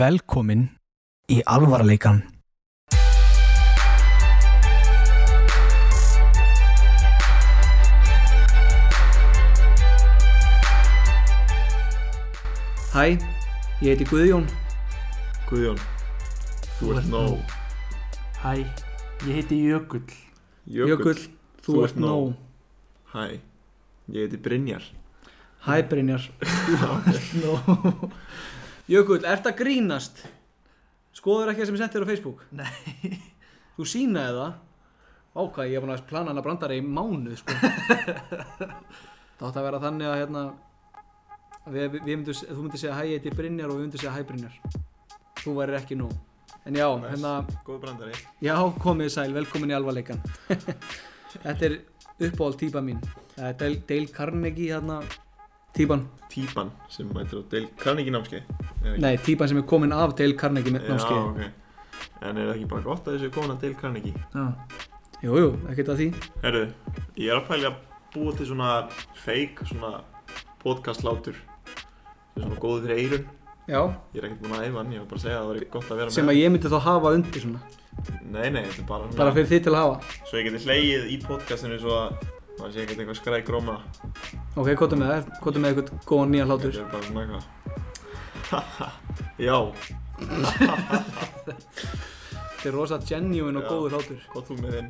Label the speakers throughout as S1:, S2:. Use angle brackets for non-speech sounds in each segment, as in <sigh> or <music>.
S1: Velkomin í alvarleikan.
S2: Hæ, ég heiti Guðjón
S3: Guðjón, þú ert nóg
S4: Hæ, ég heiti Jökull.
S2: Jökull, þú ert nóg
S3: Hæ, ég heiti Brynjar
S2: Hæ Brynjar, <laughs> þú ert nóg Jökull, ert að grínast? Skoður ekki það sem ég sendi þér á Facebook?
S4: Nei.
S2: Þú sínaði það? Ákvað, ég hef búin að plana hana brandara í mánuð <laughs> sko. Það átti að vera þannig að hérna, við, við, við myndu, þú myndir segja hæ, ég heiti Brynjar og við myndir segja hæ Brynjar Þú værir ekki nóg En já, hérna,
S3: Góð brandari
S2: já, komið sæl, velkomin í alvarleikan <laughs> Þetta er uppáhald típa mín Það er Dale, Dale Carnegie hérna, típan
S3: Típan sem mætir á Dale Carnegie námskeið Er ekki-
S2: Nei, típan sem er komin af Dale Carnegie með
S3: Já,
S2: námskeið
S3: ok En er það ekki bara gott að þessu komin að Dale Carnegie?
S2: Jú, jú, ekkert að því
S3: Herru, ég er að pæli að búa til svona fake, svona podcast látur sem er svona góður fyrir eyrun
S2: Já,
S3: Ég er ekkert búin að æfa hann, ég var bara að segja að það væri gott að vera
S2: sem
S3: með
S2: að ég myndi þá hafa undir svona
S3: Nei, nei, þetta er bara, svona-
S2: Bara fyrir því til að hafa
S3: Svo ég geti hleyið í podcastinu svo að maður sé ekkert eitthvað skræk gróma
S2: Ok, kvotum með það, kvotum með eitthvað góðan nýjan hlátur
S3: Þetta er bara svona eitthvað <laughs> Já,
S2: Þetta er rosa genuine og
S3: Já.
S2: góður hlátur
S3: hvað þú með þinn?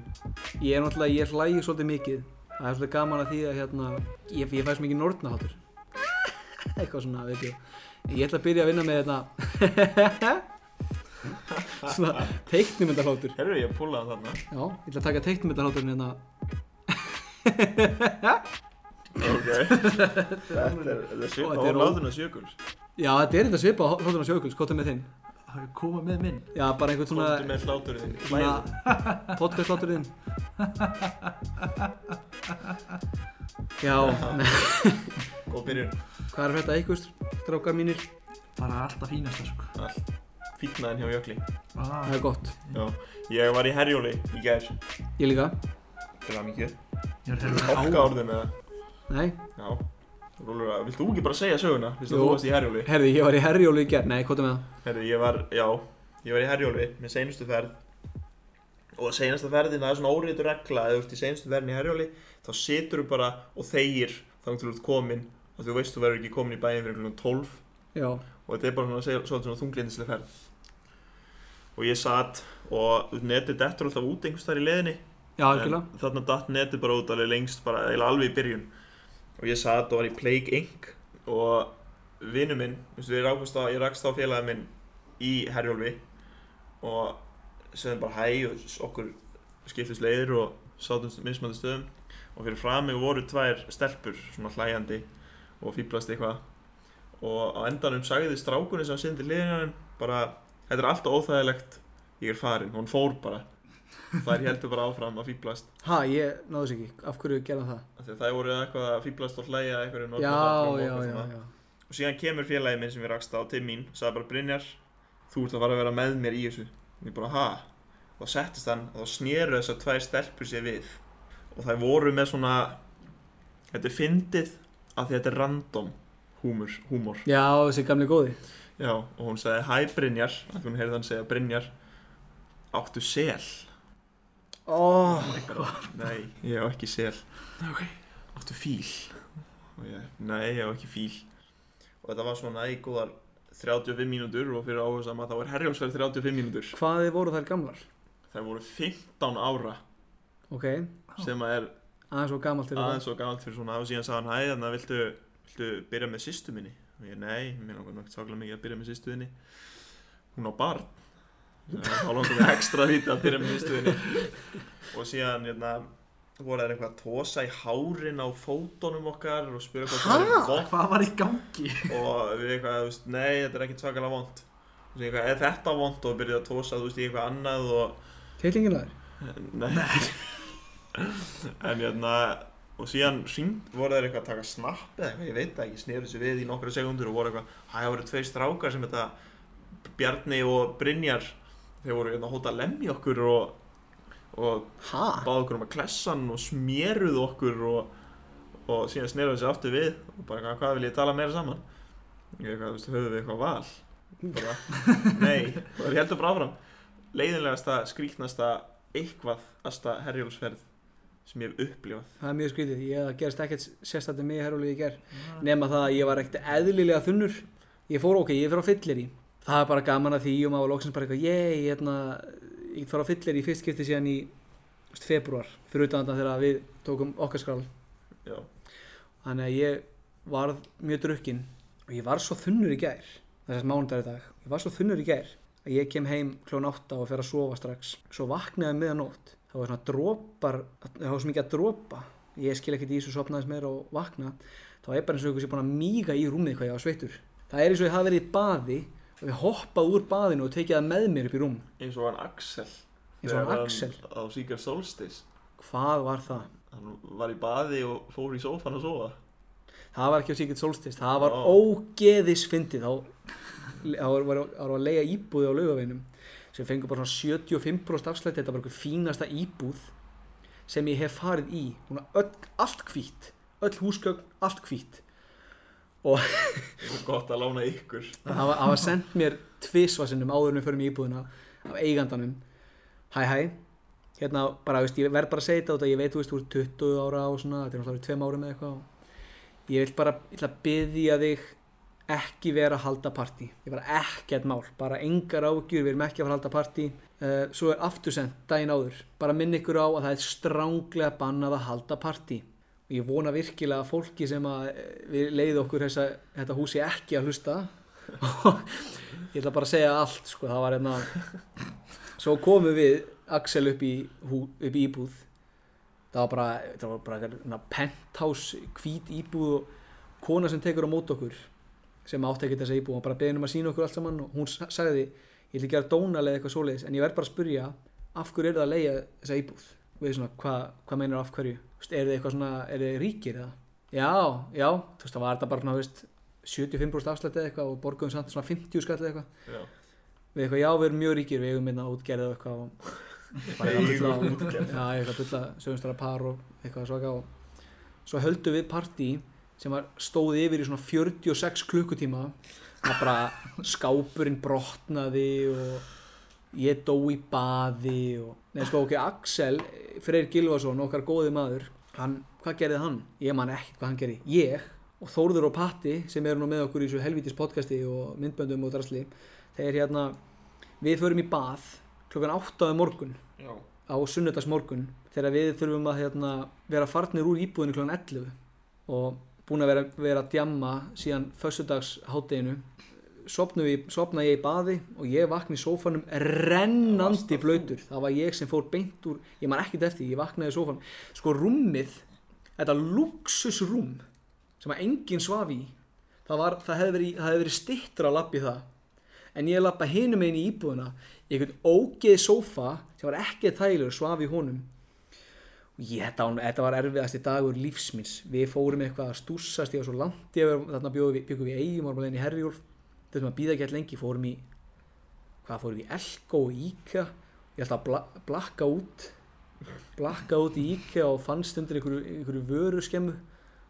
S2: Ég er náttúrulega, ég hlægi svolítið mikið Það er svolítið gaman að því að hérna Ég, ég fæ svo mikið nortna hlátur Eitthvað svona, veit ég Ég ætla að byrja að vinna með þetta <laughs> Svona teiknumynda hlátur
S3: Herru, ég púlaði þarna
S2: Já, ég ætla að taka teiknumynda hláturinn hérna <laughs>
S3: Ok Þetta er, þetta er
S2: Og
S3: svipa
S2: þetta er
S3: og
S2: ó-
S3: láðuna sjökuls
S2: Já, þetta er þetta svipa hláturinn á sjökuls, hvað er með þinn?
S4: Það er komað með minn.
S2: Já, bara einhvern svona
S3: Komdu með hláturinn þinn Hlæðu
S2: Svona podcast hláturinn <laughs> Já, nei,
S3: Góð byrjun
S2: hvað er þetta eitthvað, strákar mínir?
S4: Bara alltaf fínasta, sko.
S3: Allt Fýtnaðin hjá Jökli
S4: Ah,
S2: Það er gott,
S3: Já Ég var í herjóli í gær
S2: ég líka
S3: Til hann ekki
S4: ég er þeirra
S3: Hálka orðin eða
S2: Nei,
S3: Já Rúlur að, vilt þú ekki bara segja söguna? Fyrst að
S2: Jú.
S3: þú varst í herjóli
S2: herði, ég var í herjólu í gerð Nei, hvað er með það?
S3: Herru, ég var, já, ég var í Herjóli minn seinustu ferð og seinasta ferðin, það er svona óreitur regla eða þú ert í seinustu ferðin í Herjóli þá situr þú bara og þeir þannig til þú ert komin og þú veist þú verður ekki komin í bæinn fyrir einhvern 12
S2: Já,
S3: og þetta er bara svona, svona, svona, svona þunglindislega ferð og ég satt og netið dettur alltaf út einhvers þar í leðinni
S2: já, algjörlega
S3: en þarna datt netið bara út alveg lengst bara eiginlega alveg í byrjun og ég satt og var í Plague Inc og vinnu minn, veistu, ég, rákast á, ég rakst á félagið minn í Herjólfi og segðum bara hæ og s- okkur skiptist leiðir og sátum mismandi stöðum og fyrir fram mig voru tvær stelpur svona hlæjandi og fýblast eitthvað og á endanum sagði strákunni sem sindi liðinanum bara, þetta er alltaf óþægilegt ég er farin, hún fór bara þær heldur bara áfram að fýblast
S2: Ha, ég náðu þess ekki, af hverju gerðan það?
S3: Af því að það voru eitthvað að fýblast og hlæja eitthvað um
S2: Já,
S3: orðið
S2: já,
S3: og
S2: já,
S3: svona.
S2: já
S3: og síðan kemur félagi minn sem við rakst á til mín og sagði bara Brynjar, þú ert að fara að vera með mér í þessu og ég bara ha og þá settist hann og þá sneru þessar tvær stelpur sér við og það voru með svona þetta er fyndið af því að þetta er random húmur, húmor
S2: Já, þessi gamli góði
S3: já, og hún sagði hæ Brynjar af því hún heyrði hann segja Brynjar áttu sel
S2: Ó,
S3: Oh nei, ég á ekki sel áttu fíl og ég, nei, ég á ekki fíl og þetta var svona í góðar 35 mínútur og fyrir áherslu að það var herjálsverð 35 mínútur
S2: hvaði voru þær gamlar?
S3: það voru 15 ára
S2: Ok,
S3: sem að er
S2: aðeins og gamalt til það
S3: aðeins og gamalt fyrir svona og síðan sagði hann hæ, þannig að viltu, viltu byrja með sýstu minni og ég, nei, mér langar nokkuð sáklega mikið að byrja með sýstu þinni hún á barn Ég, þá langar mér ekstra vítið að byrja með sýstu þinni og síðan, hérna voru þeir eitthvað að tósa í hárin á fótunum okkar og spyrja hvað það er vott
S4: Hvað var í gangi?
S3: og við eitthvað, þú veist, nei, þetta er ekkert svakalega vond og ég eitthvað, er þetta vond og byrjuði að tósa, þú veist, í eitthvað annað og
S2: Teilingin að þér?
S3: nei, en hérna og síðan hring, voru þeir eitthvað að taka snapp eða eitthvað, ég veit það ekki, sneru þessu við í nokkra sekundur og voru eitthvað, það voru tvei strákar sem þetta, Bjarni og Brynjar þeir voru hérna að hóta að lemja okkur og, og
S2: Ha?
S3: báðu okkur um að klessa hann og smeruðu okkur og, og síðan sneruðu þessi aftur við og bara hvað, hvað vil ég tala meira saman ég eitthvað, þú veist, höfðu við eitthvað val bara, nei, það er heldur bara áfram leiðinlegasta, skrýtnasta eitthvaðasta herjólfsferð sem ég hef upplifað
S2: það er mjög skrítið, ég það gerist ekkert sérstaklega mig herrúlega í ger nema það að ég var ekkert eðlilega þunnur ég fór ok, ég fyrir á fyllir í það er bara gaman að því og maður var loksins bara eitthvað ég, hérna, ég fór á fyllir í fyrst skipti síðan í februar fyrir utan þarna þegar við tókum okkar skrál
S3: já,
S2: þannig að ég var mjög drukkin og ég var svo þunnur í gær þess að mánudagur í dag, ég var svo þunnur í gær að ég kem heim klón átta og fer að sofa strax svo vaknaði miðanótt það var svona dropar, það var svo mikið að dropa ég skil ekkert í þessu sopnaðis meira og vakna þá er bara eins og ykkur sem búin að míga í rúmið hvað ég var sveittur það er eins og ég hafi verið í baði og ég hoppað úr baðinu og tekið það með mér upp í rúm
S3: eins og hann Axel
S2: eins og hann
S3: Þegar
S2: Axel,
S3: á Secret Solstice
S2: hvað var það?
S3: hann var í baði og fór í sófan að sofa
S2: Það var ekki á Secret Solstice, það var
S3: Ó.
S2: ógeðisfyndið þá þá var, var, var að leiga íbúði á laugaveinum sem fengur bara svona 75% afslætti þetta var eitthvað fínasta íbúð sem ég hef farið í Hún var öll, allt hvít, öll húsgögn allt hvít
S3: og gott að lána ykkur
S2: það var, það var sendt mér tvisvasinnum áður en við förum í íbúðina af eigandanum hæ hæ hérna bara, veist, ég verð bara að segja þetta út að ég veit, þú veist, þú ert 20 ára og svona, þetta er náttúrulega tveim árum eða eitthvað og ég vil bara, ég ætla að byðja þig ekki vera að halda partí ég bara ekkert mál, bara engar ágjur við erum ekki að fara að halda partí uh, svo er aftursend daginn áður bara minn ykkur á að það er stránglega bannað að halda partí og ég vona virkilega að fólki sem að eh, við leiði okkur þessa, þetta húsi ekki að hlusta ég ætla bara að segja allt sko, það var hérna svo komum við Axel upp í, hú, upp í íbúð það var bara, það var bara hérna, penthouse, hvít íbúð og kona sem tekur á mót okkur sem átti ekki þessa íbúð og bara beðin um að sína okkur allt saman og hún sa- sagði ég ætla ekki að dóna leið eitthvað svoleiðis en ég verð bara að spurja af hverju er það að leiða þessa íbúð við svona, hvað hva meinar af hverju Þú veist, er þið eitthvað svona, er þið ríkir eða já, já, þú veist það var þetta bara svona, þú veist, 75% afslætti eða eitthvað og borguðum samt svona 50 skall eða eitthvað
S3: já.
S2: við eitthvað, já, við erum mjög ríkir, við eigum minna útgerð og eitthvað og bara eitthvað
S3: Eigum
S2: fulla- já, eitthvað fulla sögumstara par og eitthvað svaka og svo höldum við partí sem var, stóð yfir í svona 46 klukkutíma það bara skápurinn brotnaði og ég dó í baði og, nei sko ok, Axel Freyr Gilvason, okkar góði maður hann, hvað gerði hann? ég man ekkert hvað hann gerði, ég og Þórður og Patti sem eru nú með okkur í þessu helvítis podcasti og myndböndum og drasli þeir hérna, við förum í bað klukkan 8 um morgun
S3: Já.
S2: á sunnudags morgun þegar við þurfum að hérna, vera farnir úr íbúðinu kl. 11 og búin að vera, vera að djamma síðan föstudags hátteginu sopna, sopna ég í baði og ég vakna í sófanum rennandi blöytur það var ég sem fór beint úr ég man ekkert eftir, ég vaknaði í sófanum sko rúmið, þetta luxusrúm sem að enginn svaf í það, var, það hefði verið, það hefði verið stittra að lappi það en ég lappa hinum einn í íbúðuna í einhvern ógeð sófa sem var ekki þægilegur svaf í honum og ég, þetta, var- þetta var erfiðasti dagur lífsmins við fórum eitthvað að stússast ég var svo langt yfir, þarna bjóðum við, byggum við eigum og í Herjólf, þurfum að býða ekki alltaf lengi fórum í, hvað fórum við Elko og Íka, ég ætla að bla, blakka út blakka út í Íka og fannst undir einhverju, einhverju vöru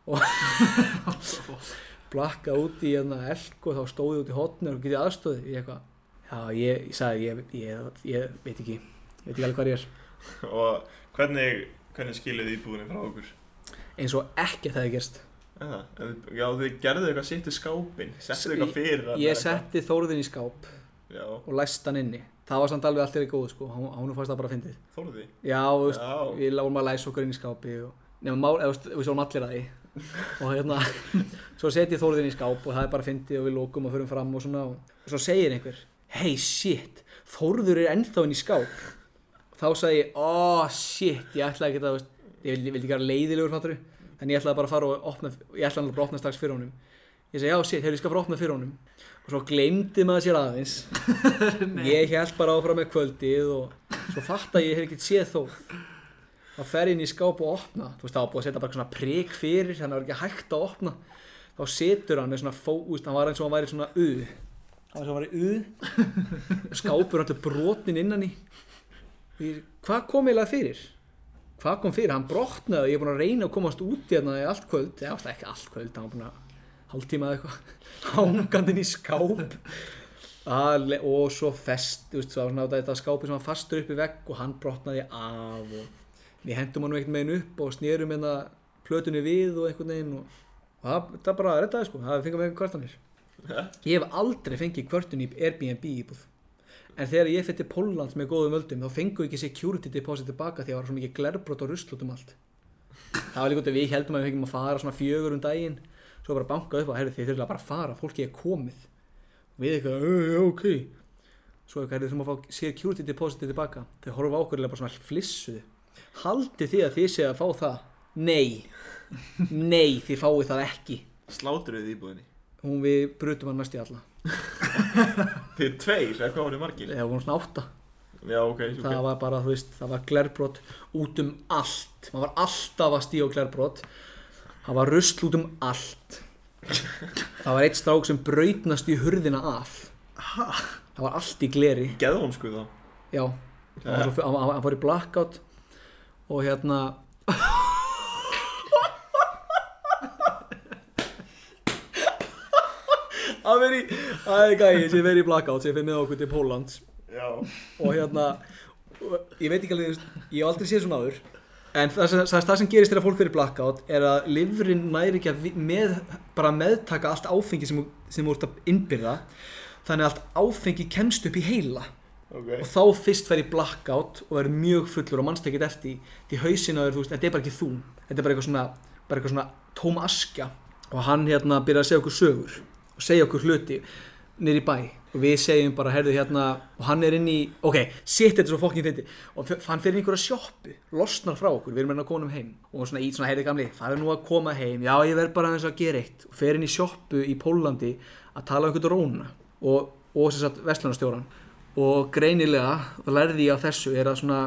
S2: og blakka út í hérna elk og þá stóði út í hotnir og getið aðstöði í eitthvað já ég, ég sagði ég, ég, ég veit ekki ég veit ekki alveg hvað ég er
S3: og hvernig, hvernig skiluðu íbúðinni frá okkur
S2: eins og ekki það er gerst
S3: Aha, en þið- já, þið gerðu eitthvað sitt í skápin settu
S2: S-
S3: eitthvað fyrir hann
S2: ég
S3: eða eitthvað.
S2: setti Þórðin í skáp
S3: já,
S2: og læst hann inni það var samt alveg allt er í góðu sko hún, hún fannst það bara að fyndið
S3: þorði
S2: já, þú veist,
S3: já,
S2: við lágum að læsa okkur inn í skápi og nema mál, eða, þú veist, við svolum allir að því og hérna svo set ég Þórðin í skáp og það er bara fyndið og við lókum og förum fram og svona og, og svo segir einhver, hey shit Þórður er ennþá inn í skáp þá sagði ég, oh shit ég ætlaði ekki að, þú veist, ég vildi, vildi ekki vera leiðilegur fattur, en ég ætlaði bara að fara og opna, ég ætlaði alveg bara að opna strax fyrir honum ég segi, já shit, hefur ég skal fara að opna fyrir honum og svo gleymdi maður sér aðeins ég held bara áfram með kvöldið og svo fatta ég, ég hef ekkert séð þó þá fer ég inn í skáp og opna þú veist, þá var búið að setja bara eitthvað svona prik fyrir þannig að það var ekki hægt að opna þá setur hann með svona fóust, hann var eins og hann væri svona uð hann var eins og hann væri uð skápur alltaf brotin innan í Og ég, hvað kom eiginlega fyrir? hvað kom fyrir? Hann brotnaði, ég er búin að reyna að komast út í hérna í allt kvöld, eða <laughs> það ekki allt kvöld, hann var búin að hálftíma eða eitthvað, hangandinn í skáp Ale, og svo fest þú veist, svo, svona, þetta skápi sem var fastur upp í vegg og hann brotnaði af og við hendum hann einhvern veginn upp og snérum hérna plötunni við og einhvern veginn og, og það, það bara rettaði sko, það fengið mig kvartanir ég hef aldrei fengið kvörtun í Airbnb íbúð en þegar ég fyrir til Pólland með góðum völdum þá fengu ekki security deposit tilbaka því að það var svo mikið glerbrot og rusl út um allt það var líka út að við heldum að við fengum að fara svona fjögur um daginn svo bara bankað upp á, herri þið þurfum bara að fara fólki er komið við eitthvað, "Ö, já, ok svo eitthvað, herri þurfum að fá security deposit tilbaka þau horfa ákveðilega bara svona flissuð haldið þið að þið séu að fá það nei, <laughs> nei þið fáið það ekki
S3: Slátruðið íbúðinni
S2: hún við brutum hann næst í alla
S3: Þið tveir, eða hvað voru margir?
S2: eða hún svona átta
S3: Já, ok, ok
S2: það var bara, þú veist, það var glerbrot út um allt, maður var alltaf að stíga á glerbrot það var rusl út um allt það var eitt strák sem brautnast í hurðina af það var allt í gleri
S3: Geðvonsku þá
S2: já, hann var, svo, hann, hann var í blackout og hérna að veri það er gæði sem verið í blackout sem fyrir með okkur til Pólans
S3: Já
S2: og hérna og ég veit ekki alveg, þú veist, ég hef aldrei séð svona áður en það sem, það, það sem gerist þegar fólk verið blackout er að livrin næri ekki að vi- með, bara meðtaka allt áfengi sem, þú- sem þú ert að innbyrða þannig að allt áfengi kemst upp í heila
S3: Ok
S2: og þá fyrst fer í blackout og verður mjög fullur og mannst ekkert eftir því. því hausin á þér, þú veist, þetta er bara ekki þú þetta er bara eitthvað svona, bara eitthvað svona tóm askja og hann hérna byrjar að segja okkur sögur og segja okkur hluti niður í bæ og við segjum bara, herðu hérna og hann er inn í, ok, sitt þetta er svo fokkin fyndi og f- hann fer inn í einhverja sjoppu losnar frá okkur, við erum enn að konum heim og svona í svona, herðu gamli, það er nú að koma heim já, ég verð bara aðeins að gera eitt og fer inn í sjoppu í Pólandi að tala um einhvern róna og, og sem sagt vestlunarstjóran og greinilega, og lærði ég af þessu, er að svona,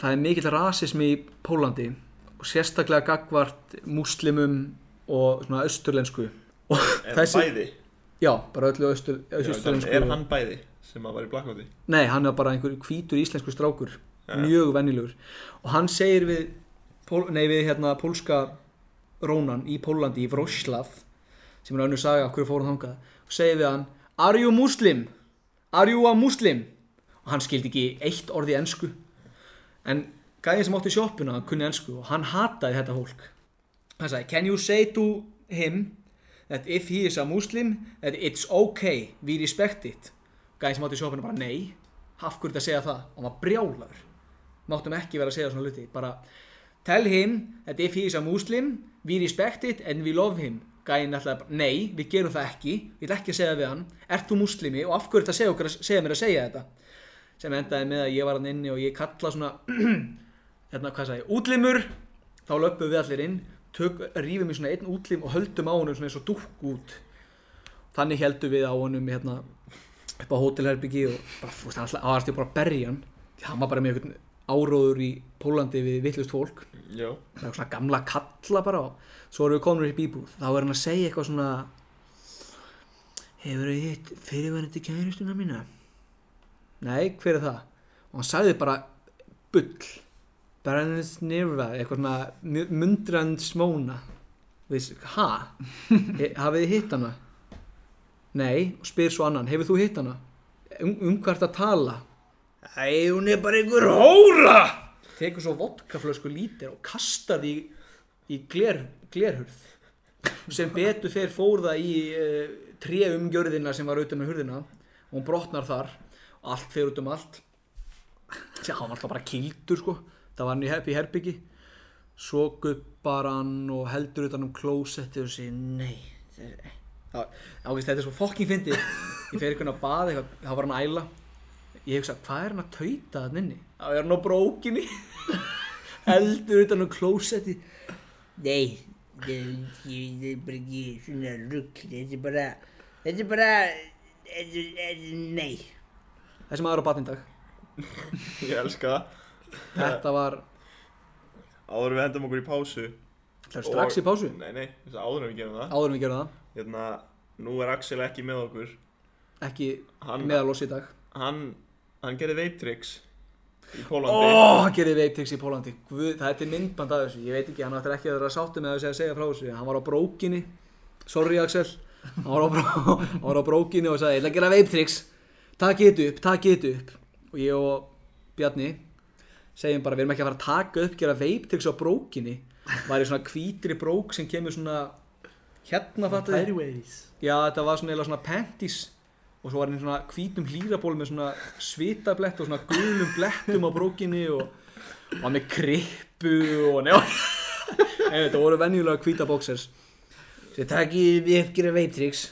S2: það er mikill rasismi í Pólandi og sérstaklega gagvart múslimum og svona austurlensku og
S3: Er hann
S2: þessi,
S3: bæði?
S2: já, bara öllu austur,
S3: Já,
S2: austurlensku
S3: Er hann bæði sem að var í blackouti?
S2: nei, hann er bara einhver hvítur íslensku strákur
S3: Já.
S2: mjög venjulegur og hann segir við, pól, nei, við hérna, pólska rónan í Pólandi í Vroslav sem er önnur saga af hverju fór hann þangað og segir við hann Are you Muslim? Are you a Muslim? og hann skildi ekki eitt orði ensku en gæðin sem átti sjoppuna hann kunni ensku og hann hataði þetta fólk hann sagði Can you say to him that if he is a Muslim that it's okay, we respect it gæðin sem átti sjoppuna bara nei af hverju þetta segja það og hann var brjálaður máttum ekki vera að segja svona hluti bara tell him that if he is a Muslim we respect it and we love him gæinn ætlaði bara, nei, við gerum það ekki við ætla ekki að segja við hann, ert þú muslimi og af hverju þetta segja, okkur, að- segja mér að segja þetta sem endaði með að ég var hann inni og ég kalla svona <clears throat> hérna, hvað sagði, ég, útlimur þá löpum við allir inn, tök, rífum í svona einn útlim og höldum á honum svona eins og dúkk út þannig heldum við á honum hérna, upp á hótelherbyggi og bara, fúst, hann ætlaði hann var alltaf bara að berja hann því hann var bara með einhvern áróður í Pólandi við vittlust fólk
S3: Já
S2: það er svona gamla kalla bara og svo erum við komin upp í búð þá er hann að segja eitthvað svona hefur þið hitt fyrirvænandi kæristuna mína nei, hver er það og hann sagði bara bull Bernis Nirva, eitthvað svona mundrand smóna Við- ha? He- hafið þið hitt hana? nei, og spyr svo annan hefur þú hitt hana? um, um hvert að tala? Æ, hún er bara einhver hóra Tekur svo vodkaflösku lítir og kastar því í gler, glerhurð sem betur fer fór það í uh, tré umgjörðina sem var auðvitað með hurðina og hún brotnar þar og allt fer út um allt Sér, hann var alltaf bara kildur sko það var hann í heppi herbyggi svo guppar hann og heldur utan um klósetti og segir nei þetta er- Já, já, veist, þetta er svo fokkin fyndi ég fer einhvern að baða eitthvað, þá var hann að æla ég hugsa, hvað er hann að tauta þann inni? Það er hann á brókinni <laughs> heldur utan á klósetti
S5: Nei, ég, ég, ég er bara ekki svona rugg, þetta er bara, þetta er bara, þetta er, nei.
S2: þessi maður á batnindag
S3: Ég elska það
S2: þetta var
S3: Áður en við endum okkur í pásu
S2: það er strax í pásu
S3: Nei, nei, þess að áður en við gerum það
S2: áður en við gerum það
S3: Hérna, nú er Axel ekki með okkur
S2: ekki
S3: Hann-
S2: meðal oss í dag
S3: Hann, hann gerði vape tricks í Pólandi
S2: Ó, hann gerði veiptrix í Pólandi Guð, það er til myndband að þessu ég veit ekki, hann ættir ekki að vera sáttu með þessu að segja frá þessu hann var á <laughs> brókinni sorry Axel hann var á, bró, hann var á brókinni og sagði, ég ætla að gera veiptrix takið þetta upp, takið þetta upp og ég og Bjarni segjum bara, við erum ekki að fara að taka upp gera veiptegs á brókinni væri svona hvítri brók sem kemur svona hérna fattu þið?
S4: Airways
S2: já, þetta var svona, eiginlega svona panties og svo var henni svona hvítum hlýraból með svona svitablett og svona gulum blettum á brókinni og og var með krippu og njá <laughs> Nei, þetta voru venjulega hvíta bóksers Sér takið við uppgjöra veiptricks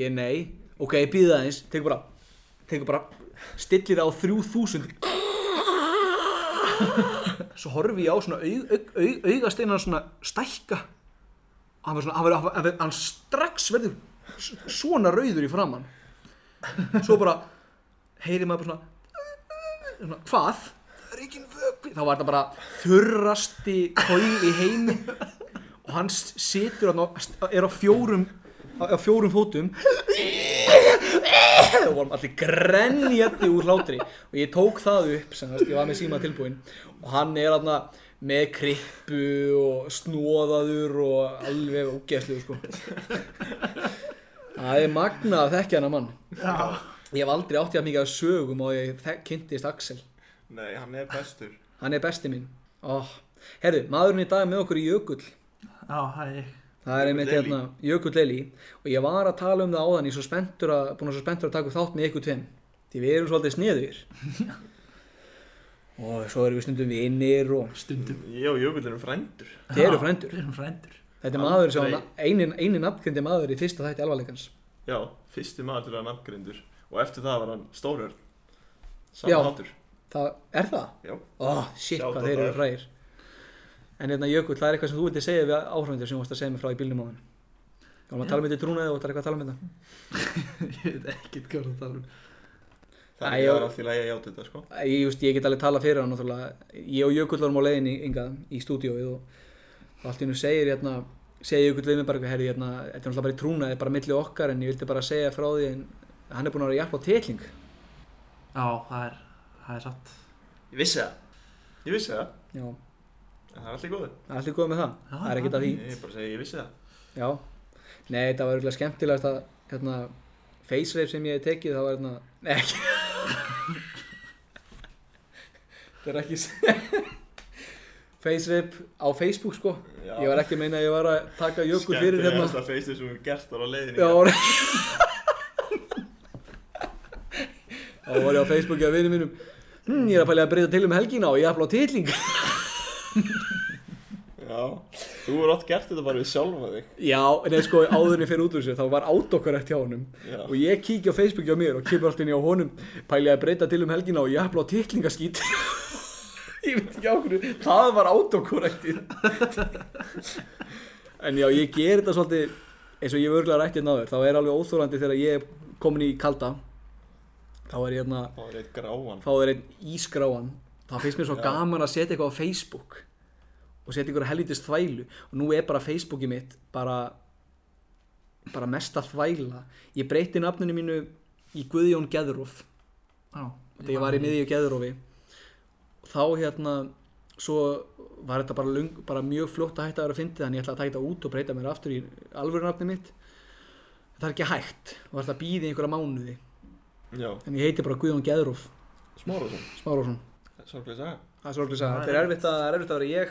S2: Ég nei Ok, ég býða aðeins Tekur bara Tekur bara Stillir það á 3000 <laughs> Svo horfi ég á svona aug, aug, aug, augasteinar svona stækka Og hann var svona Hann, var, hann, var, hann strax verður s- svona rauður í framann Svo bara Heyri maður bara svona Svona, hvað? Það er ekki vökvi Þá var þetta bara þurrasti kói í heimi og hann s- situr þarna og er á fjórum á, á fjórum fótum og vorum allir grenjandi úr hlátri og ég tók það upp sem þess, ég var með síma tilbúin og hann er þarna með krippu og snóðaður og alveg ógeðslu sko. það er magna að þekkja hann að mann
S4: Já
S2: ég hef aldrei átt ég að mikið að sögum og ég þek- kynntist Axel
S3: Nei, hann er bestur.
S2: hann er besti minn oh. herru, maðurinn í dag er með okkur í Jökull
S4: Já, hæ
S2: Það er einmitt
S3: Jökull Elí.
S2: hérna Jökull Eli og ég var að tala um það áðan ég er svo spenntur að, búin að svo spenntur að taka upp þátt með ykkur tveim því við erum svolítið
S3: <laughs>
S2: sniður og svo erum við stundum vinnir og
S4: Stundum
S3: Ég og Jökull erum frændur.
S2: Þið eru
S4: Já,
S2: frændur.
S4: Við erum frændur <laughs>
S2: þetta er maður sem
S3: Aldrei.
S2: hann- eini, eini nafngrindi maður í fyrsta þætti alvarleikans
S3: Já, fyrsti maður til að nafngrindur. Og eftir það var hann stórörn.
S2: Já.
S3: Saman hátur.
S2: það, er það?
S3: Já.
S2: oh, shit
S3: Sjátt á
S2: hvað þeir eru
S3: það.
S2: frægir en hérna Jökull það er eitthvað sem þú vildi segja við áhrandir sem þú varst að segja mig frá í bílnum á hann þá erum að tala með þetta trúnaði og það er eitthvað að tala með þetta
S4: Ég veit ekkert hvað það tala um
S3: Það
S2: Æ,
S3: er
S2: já.
S3: ég var alltaf í lagi að játa þetta, sko.
S2: Æ, Ég, just, ég get alveg tala fyrir hann náttúrulega. ég og Jökull varum á leiðin inga, í stúdíóið og og allt í hennu segir hérna, segir Jökull við mig bara eitthvað, herri, hérna, þetta er náttúrulega bara í trúnaði bara milli okkar en ég vildi bara segja frá því en hann er búinn að vera að hjálpa á titling
S4: Já, það er Það er satt
S3: Ég vissi það. Ég vissi það.
S2: já,
S3: En það er alltaf góðu.
S2: það er allir góð með það
S4: Já,
S2: það er ekkert að því
S3: Ég bara segi, ég vissi það.
S2: já, nei, þetta var örugglega skemmtilegast að hérna, face rape sem ég hef tekið það var hérna, nei ekki <laughs> það er ekki <laughs> face rape á Facebook sko
S3: Já.
S2: Ég var ekki að meina að ég var að taka jökul fyrir hérna
S3: Skemmtilegasta feistið sem við gert var á leiðinni.
S2: Já, var <laughs> Þá var ég á Facebooki að vinnu mínum hm, Ég er að pælega að breyta til um helgina og ég afla á titling
S3: Já. Þú voru oft gert þetta bara við sjálfa þig.
S2: Já, en eða sko áðurinn fyrir út úr sér þá var átokarekt hjá honum
S3: Já.
S2: og ég kíkja á Facebooki á mér og kemur allt inn í á honum pælega að breyta til um helgina og ég afla á titlingaskít <laughs> Ég veit ekki á hverju það var átokarektin En já, ég ger þetta svolítið eins og ég hef örglega rættið náður þá er alveg óþórandi þegar ég er komin í kalda þá er ég hérna
S3: Það var eitt gráan.
S2: fá þér einn ískráan þá finnst mér svo gaman að setja eitthvað á Facebook og setja eitthvað helvitist þvælu og nú er bara Facebooki mitt bara bara mesta þvæla ég breyti nafninu mínu í Guðjón Geðróf
S4: Já
S2: þegar ég var í miðju Geðrófi þá hérna svo var þetta bara, lung, bara mjög fljótt að hætta að vera að fyndi þannig ég ætla að taka þetta út og breyta mér aftur í alvöru nafni mitt það er ekki hægt og var þetta býði einhverja mánuði
S3: Já.
S2: en ég heiti bara Guðjón Geðróf
S3: Smárasson.
S2: Smárásson
S3: Sorglega saga.
S2: Það er sorglega að þetta er erfitt að, það er erfitt að vera ég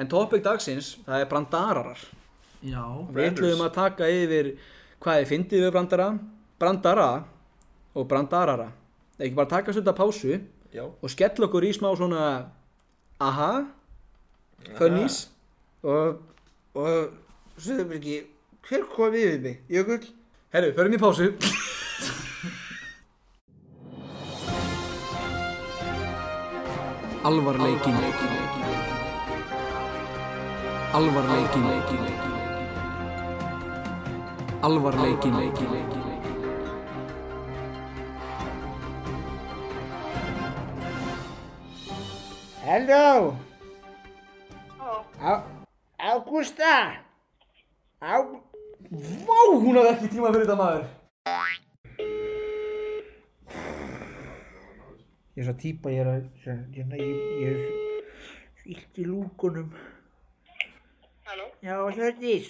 S2: En topic dagsins, það er brandararar
S4: Já
S2: Við
S3: Branders.
S2: ætluðum að taka yfir hvað þið fyndið við brandara Brandara og brandarara Ekki bara taka svolítið að pásu
S3: Já.
S2: og skella okkur í smá svona Aha, funnís
S5: Og, og, Söðurbyrgi, hver kom við við mig? Jökull?
S2: Herru, förum í pásu Alvarleikin Alvarleikin Alvarleikin
S5: Halló? Á, Ágústa? Á,
S2: Vá, hún hafði ekki tíma fyrir þetta maður
S5: ég er svo típa, ég er að, ég, ég, ég er svo illt í lúkunum.
S6: Halló,
S5: Já, Hjördís,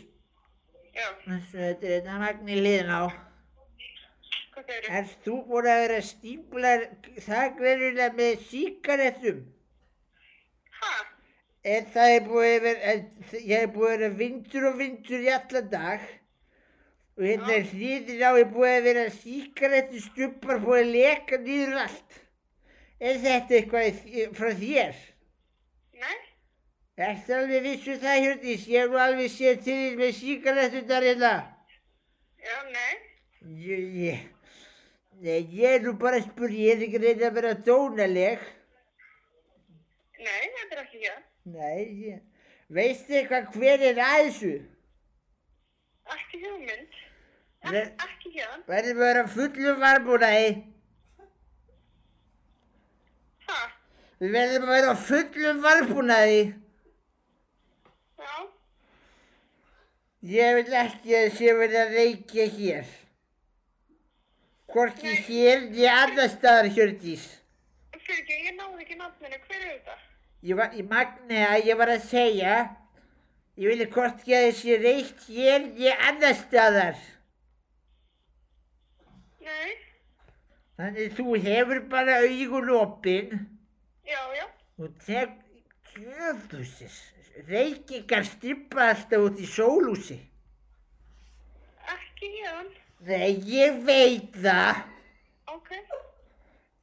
S6: já,
S5: þetta er þetta magni liðin á.
S6: hvað hvað segirðu?
S5: Er þú búin að vera að stípla það greinilega með síkaretum?
S6: Ha?
S5: En það er búið að vera, en ég er búið að vera vindur og vindur í allan dag. Og hérna er hlýðin á, ég er búið að vera síkaretu stubbar búið að leka nýður allt. Er þetta eitthvað í- frá þér?
S6: Nei?
S5: Ertu alveg vissu það Hjördís? Ég er nú alveg séð til þín með síkaretunar hérna.
S6: Já, nei?
S5: Ég, ég, nei, ég er nú bara að spyrja, ég er ekki reyna að vera dónaleg.
S6: Nei, þetta er ekki ég.
S5: Nei, ég, veistu eitthvað hver er að þessu?
S6: Ekki hugmynd.
S5: Nei.
S6: Ek, ekki ég.
S5: Verðum að vera fullum varmúnaði.
S6: Ha?
S5: Við verðum að vera á fullum varmúnaði.
S6: Já?
S5: Ég vil ekki að sé verið að reykja hér. Hvorki hér niður annar staðar Hjördís.
S6: Fyrir ekki, ég náði ekki nafninu. Hver er þetta?
S5: Ég var, í Magnea, ég var að segja, ég vilja hvorki að þessi reykt hér niður annar staðar.
S6: Nei?
S5: Þannig þú hefur bara augun opinn
S6: Já, já.
S5: og þegar gjöðusis, reykingar strippa alltaf út í sólúsi.
S6: Ekki ég.
S5: Nei, ég veit það.
S6: Ok.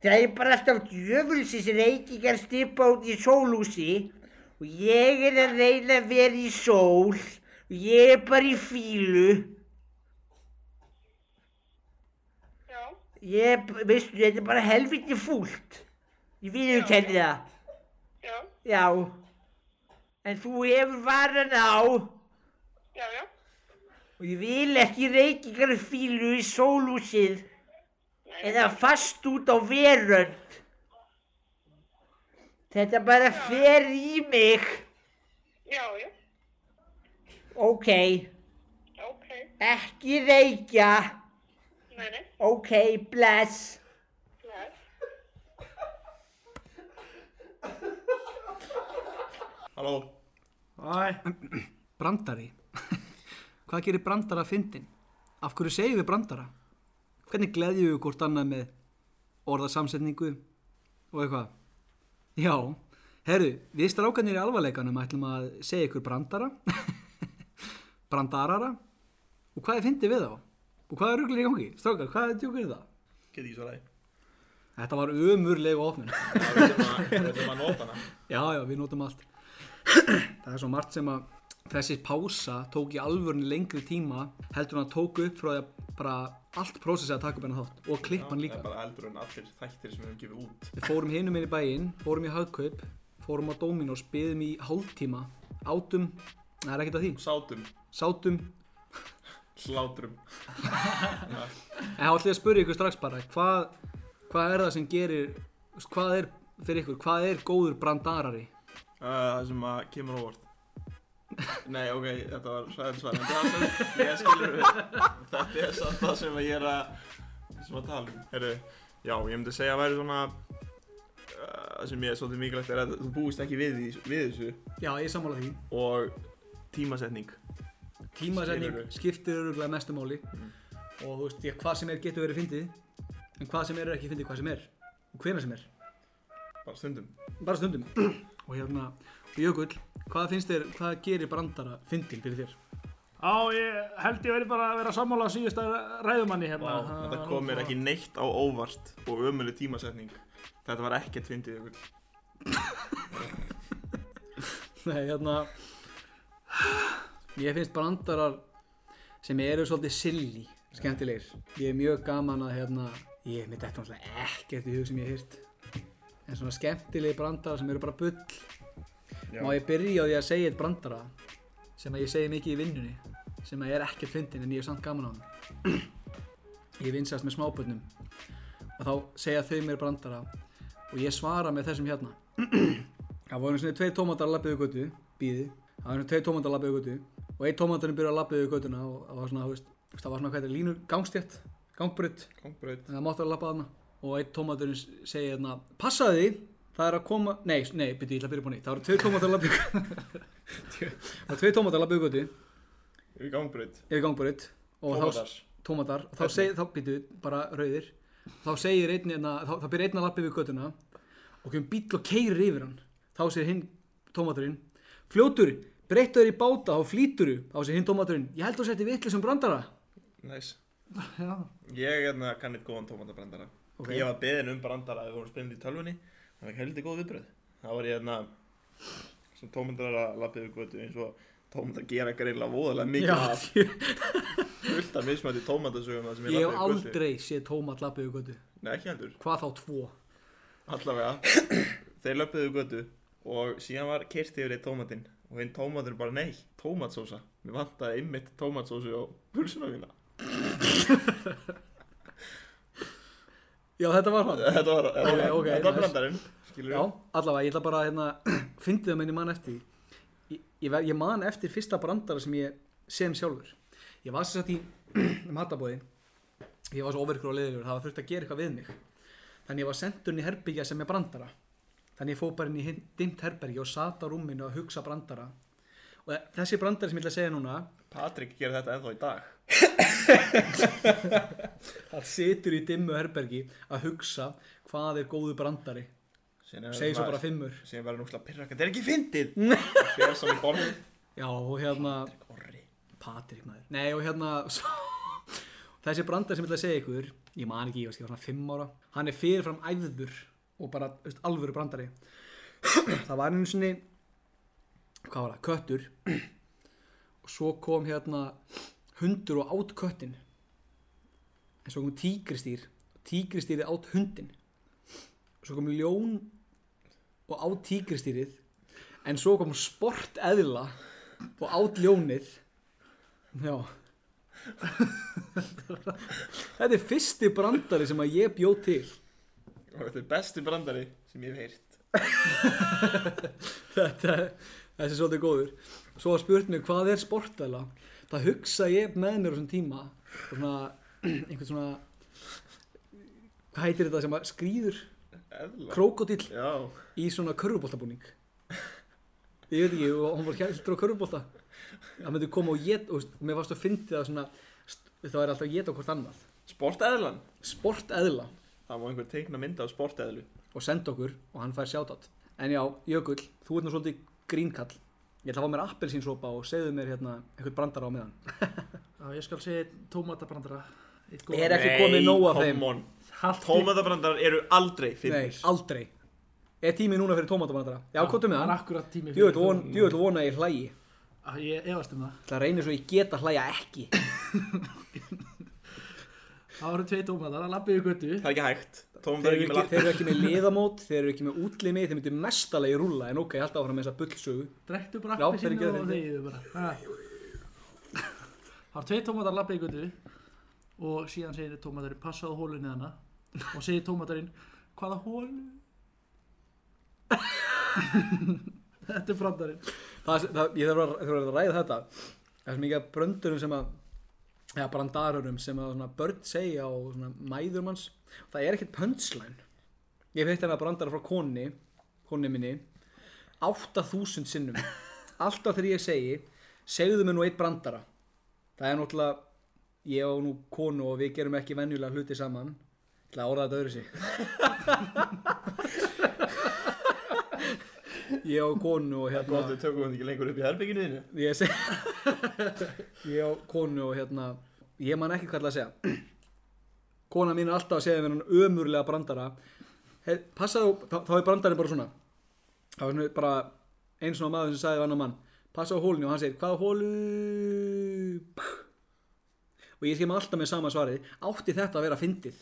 S5: Það er bara alltaf djöfulsins reykingar strippa út í sólúsi og ég er að reyna að vera í sól og ég er bara í fílu.
S6: Já.
S5: Ég, er b- veistu, þetta er bara helviti fúlt. Ég viðurkenni það.
S6: Já.
S5: Já. En þú hefur varan á.
S6: Já, já.
S5: Og ég vil ekki reykingar fílu í sólúsið
S6: Nei.
S5: eða fast út á verönd. Þetta bara fer í mig.
S6: Já, já.
S5: Ok,
S6: Ok.
S5: ekki reykja.
S6: Nei, nei.
S5: Ok, bless.
S6: Bless.
S3: Halló,
S4: Æ,
S2: Brandari <laughs> Hvað gerir brandara fyndin? Af hverju segjum við brandara? Hvernig gleðjum við hvort annað með orðasamsetningu og eitthvað? Já, herru, við strákanir í alvarleikanum ætlum að segja ykkur brandara <laughs> brandarara og hvað er fyndið við þá? Og hvað er ruglir í gangi? Strákar, hvað er djúkur það?
S3: get ekki svaraði
S2: Þetta var umurleg ofnun
S3: Það er sem að, við ætlum að nota hana
S2: Já, já, við notum allt Það er svo margt sem að þessi pása tók í alvörni lengri tíma heldur hann að tóku upp frá því að bara allt prósessi að taka upp hennar þátt og klippan
S3: Það
S2: líka
S3: er bara eldur en allir þættir sem við höfum gefið út
S2: Við fórum hinum inn í bæinn, fórum í hagkaup fórum á Dominos, byðum í hálftíma átum, það er ekkert að því
S3: Sátum,
S2: sátum,
S3: slátrum
S2: en þá ætlum ég að spyrja ykkur strax bara hvað, hvað er það sem gerir hvað er fyrir ykkur, hvað er góður brandarari?
S3: Uh, Það sem að kemur á óvart <laughs> Nei, ok, þetta var sæðið svar En það sem ég skilur við Þetta er samt það sem ég er að sem að tala um Heru, Já, ég myndi segja að væri svona uh, það sem ég er svolítið mikilvægt er að þú búist ekki við, því, við þessu
S2: Já, ég sammála því
S3: og tímasetning
S2: tímasetning
S3: Skilurðu?
S2: skiptir öruglega mestu máli og þú veist, ég, hvað sem er getur verið fyndið en hvað sem er er ekki fyndið hvað sem er og hvena sem er,
S3: bara stundum
S2: bara stundum <clears throat> og hérna, og Jökull, hvað finnst þér hvað gerir brandara fyndið fyrir þér?
S4: á, ég held ég verið bara að vera sammála á síðust að ræðumanni
S3: Vá,
S4: hérna.
S3: Þetta kom mér ekki neitt á óvart og ömuleg tímasetning Þetta var ekkert fyndið ykkur
S2: Nei, hérna ég finnst brandarar sem eru svolítið silly skemmtilegir, ég er mjög gaman að hérna, ég mitt eftir náttúrulega ekkert í hug sem ég hef hýrt en svona skemmtilegi brandarar sem eru bara bull
S3: Já.
S2: Má ég byrja á því að segja eitt brandara sem að ég segi mikið í vinnunni sem að ég er ekkert fyndin en ég er samt gaman á hann <clears throat> Ég vinsast með smábönnum og þá segja þau mér brandara og ég svara með þessum hérna Það voru svona tveir tómatar að labba yfir götu bíði, það voru svona tveir tómatar að labba yfir götu og einn tómatarinn byrja að labba yfir götuna og það var svona, þú veist, það var svona hvað þetta er línur gangstjætt, gangbrut
S3: Kongbraut
S2: það mátti að lappa þarna og einn tómaturinn segir hérna passaði því, það er að koma nei, nei, byrju, ég ætla að byrja búin í, það voru tvei tómatur að lappa <laughs> það voru tvei tómatur að lappa í götu
S3: Kongbraut
S2: yfir gangbröð og
S3: Tómatar
S2: þá tómatar þá segir, þá býtu bara rauðir þá segir einn einna, þá, þá byrja einn að lappa yfir göttuna og kemur bíll og keirir yfir hann þá segir hinn tómaturinn fljótur, breyttu þér í báta og flýtur þá segir hinn tómaturinn, ég held þú settir vitlu sem um brandara
S3: Næs
S2: <laughs> já,
S3: Ég hérna kann eitt góðan tómatabrandara
S2: Ok.
S3: Ég var beðin um brandara að við vorum spilandi í tölvunni Það var heldur góð viðbröð Það var ég hérna sem tómatara lappið við götu eins og tómatar gera greinlega voðalega mikið af
S2: <laughs> ég,
S3: fullt af mismæti tómatasögum sem ég
S2: ég hef
S3: lappa yfir götu.
S2: aldrei séð tómat lappa yfir göttu
S3: Nei, ekki heldur
S2: hvað þá tvo <coughs>
S3: Allavega, þeir löpuðu götu og síðan var kert yfir eitt tómatinn og hinn tómatur bara nei, tómatsósa Mér vantaði einmitt tómatsósu á pulsuna mína <laughs>
S2: já, þetta var hann
S3: Þetta var, þetta var,
S2: ok,
S3: þetta var
S2: nice.
S3: brandarinn, skilur
S2: Já, allavega, ég ætla bara að hérna, <clears throat> fyndið það menn ég man eftir því. ég, ég, ver- ég man eftir fyrsta brandara sem ég sem sjálfur ég var sér satt í <clears throat> matabóði ég var svo ofirkur og leðilegur það var þurft að gera eitthvað við mig þannig ég var sendur inn í herbyggja sem er brandara þannig ég fóð bara inn í hin- dimmt herbergi og sat á rúminu að hugsa brandara og e, þessi brandari sem ég ætla að segja núna
S3: Patrik gerir þetta ennþá í dag
S2: hann situr í dimmu herbergi að hugsa hvað er góðu brandari
S3: Síðan er
S2: segi svo
S3: maður-
S2: bara fimmur
S3: Síðan verður núslega pyrraka, þetta er ekki fyndið
S2: <laughs>
S3: Fyrir svo í borðið
S2: já og hérna
S3: Orri
S2: Patrik maður Nei og hérna svo, Þessi brandar sem ég ætla að segja ykkur Ég man ekki, ég veist, ég var svona 5 ára Hann er fyrirfram æður Og bara, þú veist, alvöru brandari Það var einu sinni Hvað var það, köttur Og svo kom hérna Hundur og átt köttin En svo kom tígristýr Tígristýri átt hundin Svo kom ljón Og átt tígristýrið En svo kom sport eðla Og átt ljónið Já Þetta er fyrsti brandari sem að ég bjóð til
S3: Og þetta er besti brandari sem ég hef heyrt
S2: Þetta Þessi er svolítið góður Svo var spurt mér hvað er sportæla Það hugsa ég með mér á þessum tíma og svona, einhvern svona Hvað heitir þetta sem að skrýður
S3: Eðla
S2: krókodill
S3: Já,
S2: í svona körfuboltabúning ég veit ekki, og hún var heldur á körfubolta það myndi koma og get og veist, mér varst að fyndi það svona st- það væri alltaf að geta hvort annað
S3: sporteðlan
S2: sportæðla
S3: Það má einhver teikna mynda á sporteðlu
S2: og senda okkur og hann fær sjátat en já, Jökull, þú ert nú svolítið grínkall ég ætla að fá mér appelsínsópa og segðu mér hérna eitthvað brandara á meðan
S4: Já, ég skal segja einn tómatabrandara. Eitt góðan.
S2: Er ekki komið nóg af
S3: come
S2: þeim.
S3: on.
S4: Haltu-
S3: Tómatabrandarar eru aldrei
S2: nei,
S3: fyrir
S2: aldrei er tími núna fyrir tómatabrandara já,
S4: Það
S2: kóttu
S4: er
S2: meðan
S4: akkurat tími
S2: djöfull von, djöfull vona að ég hlægi
S4: Ah, Ég efast um það.
S2: það reynir svo ég geta að hlæja ekki
S4: Það voru tvei tómatar að labba yfir götu.
S3: Það er ekki hægt Tómatar
S2: Þeir
S3: er ekki með lappir
S2: eru ekki, þeir eru ekki með liðamót, þeir eru ekki með útlimi, þeir myndu mestalegi rúlla en ok, ég held áfram með þessa bullsögu.
S4: Drektu bara
S2: Já,
S4: appi
S2: þeir gera
S4: og
S2: þetta.
S4: þegiðu bara. Ha. Það voru tvei tómatar að labba yfir götu og síðan segir tómatarinn passaðu hólunni hana og segir tómatarinn hvaða hólu? <laughs> Þetta er brandarinn.
S2: Það, það, ég þarf að, þarf að ræða þetta. Það er svo mikið af bröndurum sem að, eða brandarurum sem að svona börn segja og svona mæður manns. Það er ekkert pöntslæn. Ég veit hérna brandara frá konni, konni minni, 8000 sinnum. Alltaf þegar ég segi, segðu mér nú eitt brandara. Það er náttúrulega, ég og nú konu og við gerum ekki venjulega hluti saman. Ég ætla að orða þetta öðru sig. ég og konu og hérna
S3: Góð, við tökum þetta ekki lengur upp í herbygginu þínu
S2: ég seg <laughs> ég á konu og hérna ég man ekki hvað ætla að segja kona mín er alltaf að segja mér hann ömurlega brandara hey, passaðu, þá, þá er brandarinn bara svona þá er svona bara eins og maður sem sagði við annan mann passaðu á hólunni og hann segir hvaða hólu og ég skemmi alltaf með sama svarið átti þetta að vera fyndið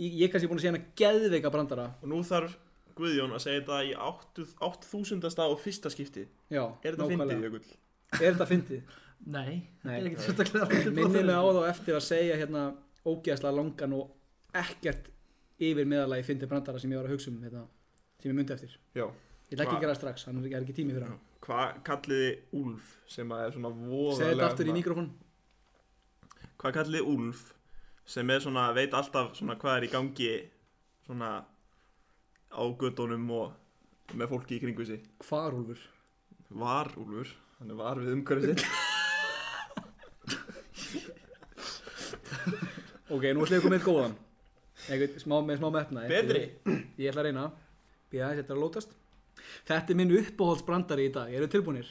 S2: ég, ég er kannski búin að segja hann að geðveika brandara
S3: Og nú þarf Guðjón að segja þetta í 8 8000. og fyrsta skipti
S2: já,
S3: Er þetta fyndið,
S2: nákvæmlega.
S3: Jökull?
S2: er þetta fyndið
S4: Nei, þetta
S2: Nei.
S4: er ekkert sérstaklega.
S2: minni mig á þá eftir að segja hérna ógeðslega langan og ekkert yfir meðalagi fyndi brandara sem ég var að hugsa um hérna, sem ég myndi eftir
S3: Já
S2: ég ætla ekki
S3: Hva-
S2: að gera það strax, hann er er ekki tími fyrir hann
S3: Hvað kalliði Úlf sem að er svona voðalega
S2: segja þetta aftur í mikrofon
S3: Hvað kalliði Úlf sem er svona, veit alltaf svona hvað er í gangi svona á göttunum og með fólki í kringu sig
S2: hvarúlfur
S3: Var Úlfur, hann er var við umhverfið sitt
S2: Ok, nú ætlum við komið eitt góðan Eitthvað smá, með smá metna
S3: Betri?
S2: Ég ætla að reyna Býða aðeins þetta er að lótast Þetta er minn uppáhaldsbrandari í dag, eru tilbúinir?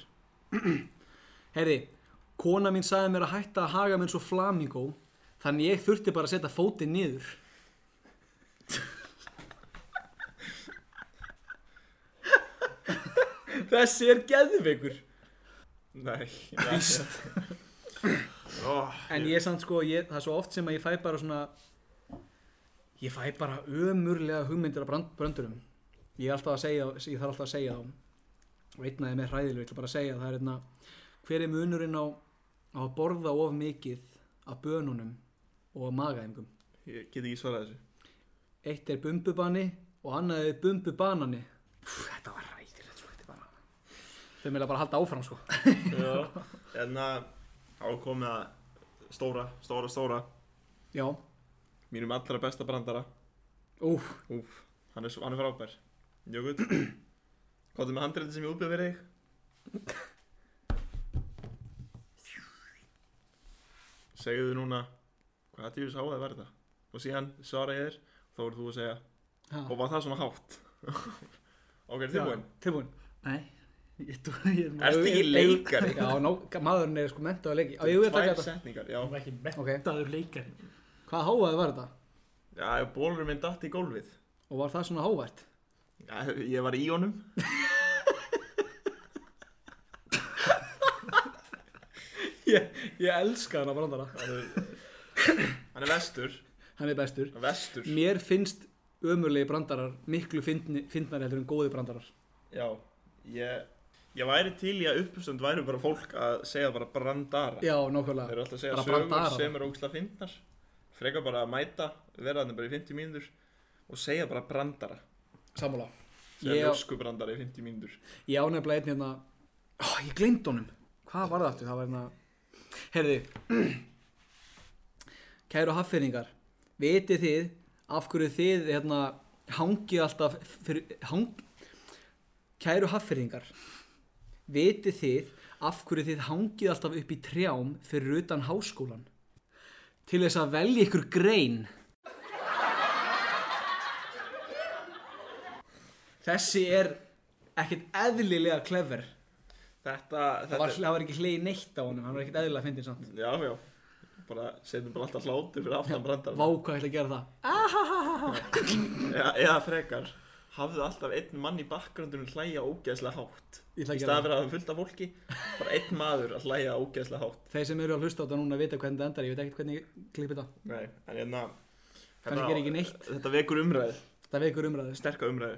S2: Herri, kona mín sagði mér að hætta að haga mér svo flamingó Þannig ég þurfti bara að setja fótinn niður Þessi er geðveikur
S3: <laughs> Nei, nei. Ó,
S2: En ég samt sko, ég, það er svo oft sem að ég fæ bara svona Ég fæ bara ömurlega hugmyndir af brand, brandurum Ég er alltaf að segja, ég þarf alltaf að segja þá Og einnaði með hræðileg, ég ætla bara að segja Það er einna, hver er munurinn á, á að borða of mikið af bönunum og magaðingum
S3: Ég get ekki svarað þessu
S2: Eitt er bumbubanni og annað er bumbubanani Úf, Þetta var ræðilegt sko, þetta var Þau meðlega bara að halda áfram sko
S3: Já, en að þá komið Hérna, að stóra, stóra, stóra
S2: Já,
S3: mínum allra besta brandara
S2: úf,
S3: Úf, hann er, svo- hann er frábær <clears throat> Jökull Hvað er með handreiti sem ég útbjöð fyrir þig? Segðu núna Hvað djús á það verða? Og síðan svara ég þér Þá voru þú að segja
S2: Ha.
S3: Og var það svona hátt? <laughs> ok, er tilbúin?
S2: tilbúin
S4: Nei, ég tók ég er
S3: Ertu ekki leikari?
S2: Já, ná, maðurinn er sko mentað að leiki Já, ég vil taka
S3: Tvær
S2: þetta
S3: setningar, já
S4: ekki mettaður leikari.
S2: Hvað háaði var þetta?
S3: Já, bólurinn minn datt í gólfið
S2: Og var það svona
S3: <laughs>
S2: hávært?
S3: Já, ég var í honum
S2: Ég, ég elska hann að brandara
S3: Hann er, hann er vestur
S2: Hann er bestur
S3: Vestur
S2: Mér finnst ömurlegi brandarar miklu fyndni- fyndnari heldur en góði brandarar
S3: Já, ég, ég væri til í að uppstönd væri bara fólk að segja bara brandara
S2: Já,
S3: Þeir
S2: nákvæmlega
S3: eru alltaf að segja
S2: Bara
S3: sögur
S2: brandara.
S3: sem eru ógslag fyndnar Frekar bara að mæta, vera þannig bara í 50 mínútur og segja bara brandara
S2: Sammála
S3: Segja
S2: Ég-
S3: ljósku brandara í 50 mínútur
S2: Ég ánefnilega einn hérna Ó, ég gleymd honum Hvað var það aftur? Það var hérna Herði <clears throat> Kæru haffyrningar Vitið þið af hverju þið hérna hangið alltaf fyrir, hang... Kæru haffyrningar Vitið þið af hverju þið hangið alltaf upp í trjám fyrir utan háskólan Til þess að velja ykkur grein Þessi er ekkert eðlilega clever
S3: Þetta,
S2: Það
S3: þetta
S2: var, það var ekki hleið neitt á honum, hann var ekkert eðlilega fyndin samt.
S3: Já, já, bara setjum bara alltaf hlátur fyrir aftan
S2: Vá
S3: brandara
S2: hvað ég ætla að gera það.
S3: eða, eða frekar hafðu alltaf einn mann í bakgröndunum hlæja ógeðslega hátt í
S2: Ég ætla að
S3: staðan
S2: gera
S3: fyrir að
S2: það.
S3: hafa fullt af fólki bara einn maður að hlæja ógeðslega hátt
S2: Þeir sem eru að hlusta á þetta núna vita hvernig þetta endar, ég veit ekkert hvernig ég klippi þetta.
S3: Nei, en hérna
S2: Kannski
S3: hérna-
S2: gera ekki neitt.
S3: Þetta vekur umræði,
S2: Það veikur umræðist.
S3: sterka umræði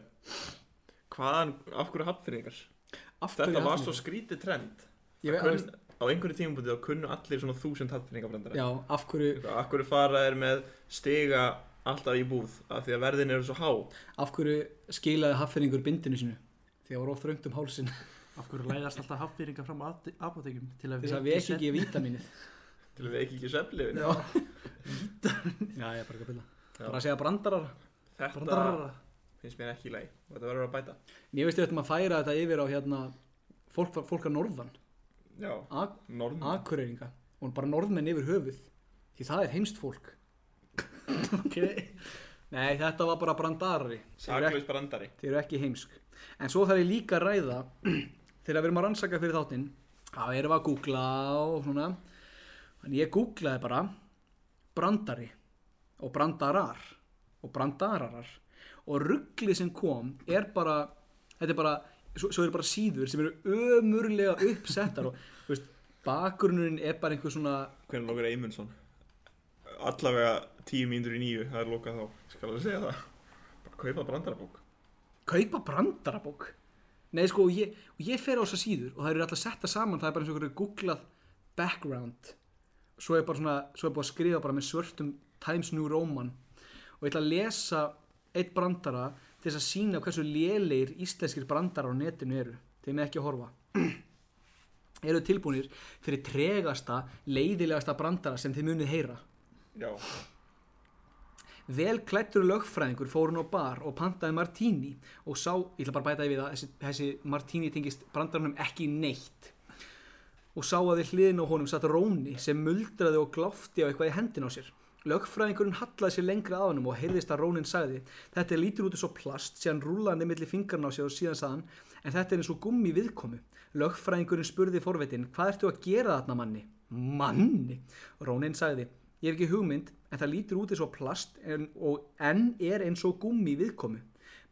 S3: Hvaðan, af hverju hafnfyrningar?
S2: Af hverju
S3: Þetta var
S2: hafnir
S3: svo
S2: þeir?
S3: skrítið trend
S2: Ég veit-
S3: Kunn, Á einhverju tímabundi þá kunnu allir svona þúsund hafnfyrningabrendara
S2: Já, af hverju,
S3: Af hverju fara er með stiga alltaf í búð af því að verðin eru svo há
S2: af hverju skilaði haffyrningur bindinu sínu? Því það var of þröngt um hálsin.
S4: Af hverju læðast alltaf haffýringar fram að apotekum til að
S2: Þess að við ekki
S4: svefn-
S2: ekki vítaminið.
S3: til að við ekki ekki svefnlefin
S2: Já. Já, ég er bara ekki að byrja. Bara að segja brandarar.
S3: Þetta
S4: Brandarara.
S3: finnst mér ekki í lagi og þetta verður að bæta
S2: Ég veist ég ættum að færa þetta yfir á hérna fólk, fólk að norðan.
S3: Já,
S2: Ak
S3: norðmenn
S2: akureyringa og bara norðmenn yfir höfuð því það er heimst fólk
S4: Ok.
S2: <laughs> nei þetta var bara brandari þeir eru
S3: Saklaus
S2: ekki,
S3: brandari
S2: þeir eru ekki heimsk en svo þarf ég líka að ræða <clears throat> þegar við erum að rannsaka fyrir þáttinn þá erum við að googla og svona en ég googlaði bara brandari og brandarar og brandararar og ruggli sem kom er bara þetta er bara, svo, svo eru bara síður sem eru ömurlega uppsettar og þú veist, bakgrunnurinn er bara einhver svona
S3: Hvernig lokar Eymundsson? Allavega tíu mínútur í nýju, það er lokað þá, ég skal alveg segja það. Bara kaupa brandarabók.
S2: kaupa brandarabók nei sko og ég, og ég fer á þessa síður og það eru alltaf setta saman það er bara eins og einhverju googlað background svo er bara svona svo er búið að skrifa bara með svörtum Times New Roman og ég ætla að lesa eitt brandara til þess að sína hversu lélegir íslenskir brandarar á netinu eru þeim er ekki að horfa <clears throat> eru tilbúinir fyrir tregasta leiðilegasta brandara sem þið munið heyra
S3: Já,
S2: Vel klættur lögfræðingur fór hún á bar og pantaði martíni og sá, ég ætla bara að bæta yfir það, þessi, þessi martíni tengist brandarunum ekki neitt og sá að við hliðin á honum satt Róni sem muldraði og gláfti á eitthvað í hendin á sér Lögfræðingurinn hallaði sér lengra að honum og heyrðist að Rónin sagði Þetta lítur út eins og plast, síðan rúlaði milli fingarna á sér og síðan saðan En þetta er eins og gummi viðkomu Lögfræðingurinn spurði forvitin Hvað ertu að gera þarna manni? Manni? Rónin sagði Ég hef ekki hugmynd, en það lítur út eins og plast en, og, en er eins og gummi viðkomu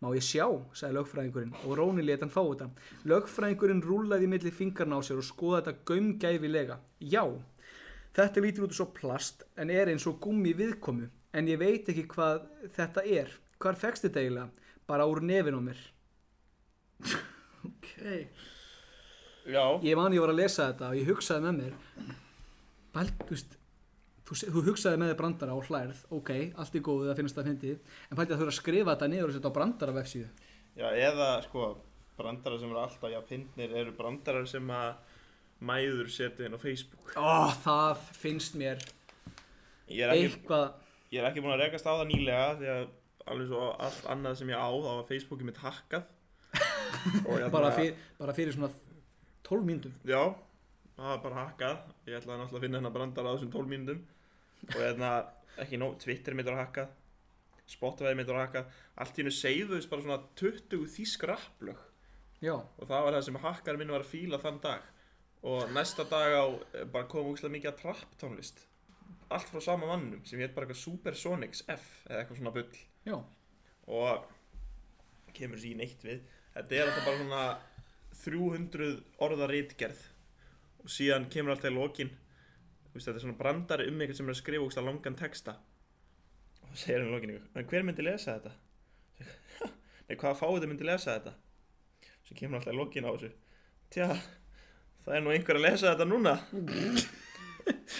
S2: Má ég sjá, sagði lögfræðingurinn og Róni let hann fá þetta. Lögfræðingurinn rúlaði í milli fingarna á sér og skoða þetta gaumgæfilega. Já, þetta lítur út svo plast en er eins og gummi viðkomu en ég veit ekki hvað þetta er. Hvar fegst þetta eiginlega? Bara úr nefin á mér. <laughs>
S4: ok,
S3: Já,
S2: Ég man ég var að lesa þetta og ég hugsaði með mér. Bælgust, þú, se- þú hugsaði með þér brandara og hlærð, ok, allt í góðu það finnst það fyndið, en pælti að þú eru að skrifa þetta niður og setja á brandara vefsíðu.
S3: já eða sko brandarar sem eru alltaf já, fyndnir eru brandarar sem að mæður setja inn á Facebook
S2: Ó, það finnst mér
S3: Ég er ekki,
S2: eitthvað...
S3: ég er ekki búin að rekast á það nýlega því að alveg svo allt annað sem ég á þá var Facebookið mitt hakkað Og ég
S2: bara, fyr, bara fyrir svona 12 mínútum
S3: Já, það var bara hakkað Ég ætlaði náttúrulega að finna hennar brandara á þessum 12 mínútum Og hérna, ekki nóg, Twitter mitt var hakkað Spotify mitt var hakkað Allt í hennu seifuðist bara svona 20 þýsk rapplög
S2: já,
S3: Og það var það sem hakkar minn var að fíla þann dag Og næsta dag á, eh, bara kom úkslega mikið að trapp tónlist Allt frá sama mannum sem hétt bara eitthvað Supersonics F Eða eitthvað svona bull
S2: já,
S3: og kemur sér í neitt við þetta er alltaf bara svona 300 orða reitgerð og síðan kemur alltaf í lokin þú veist, þetta er svona brandari um eitthvað sem er að skrifa úkst að langan texta og það segir hann í lokin en hver myndi lesa þetta? <laughs> Nei, hvaða fáið þið myndi lesa þetta? Svo kemur alltaf í lokin á þessu Tja, það er nú einhver að lesa þetta núna <laughs>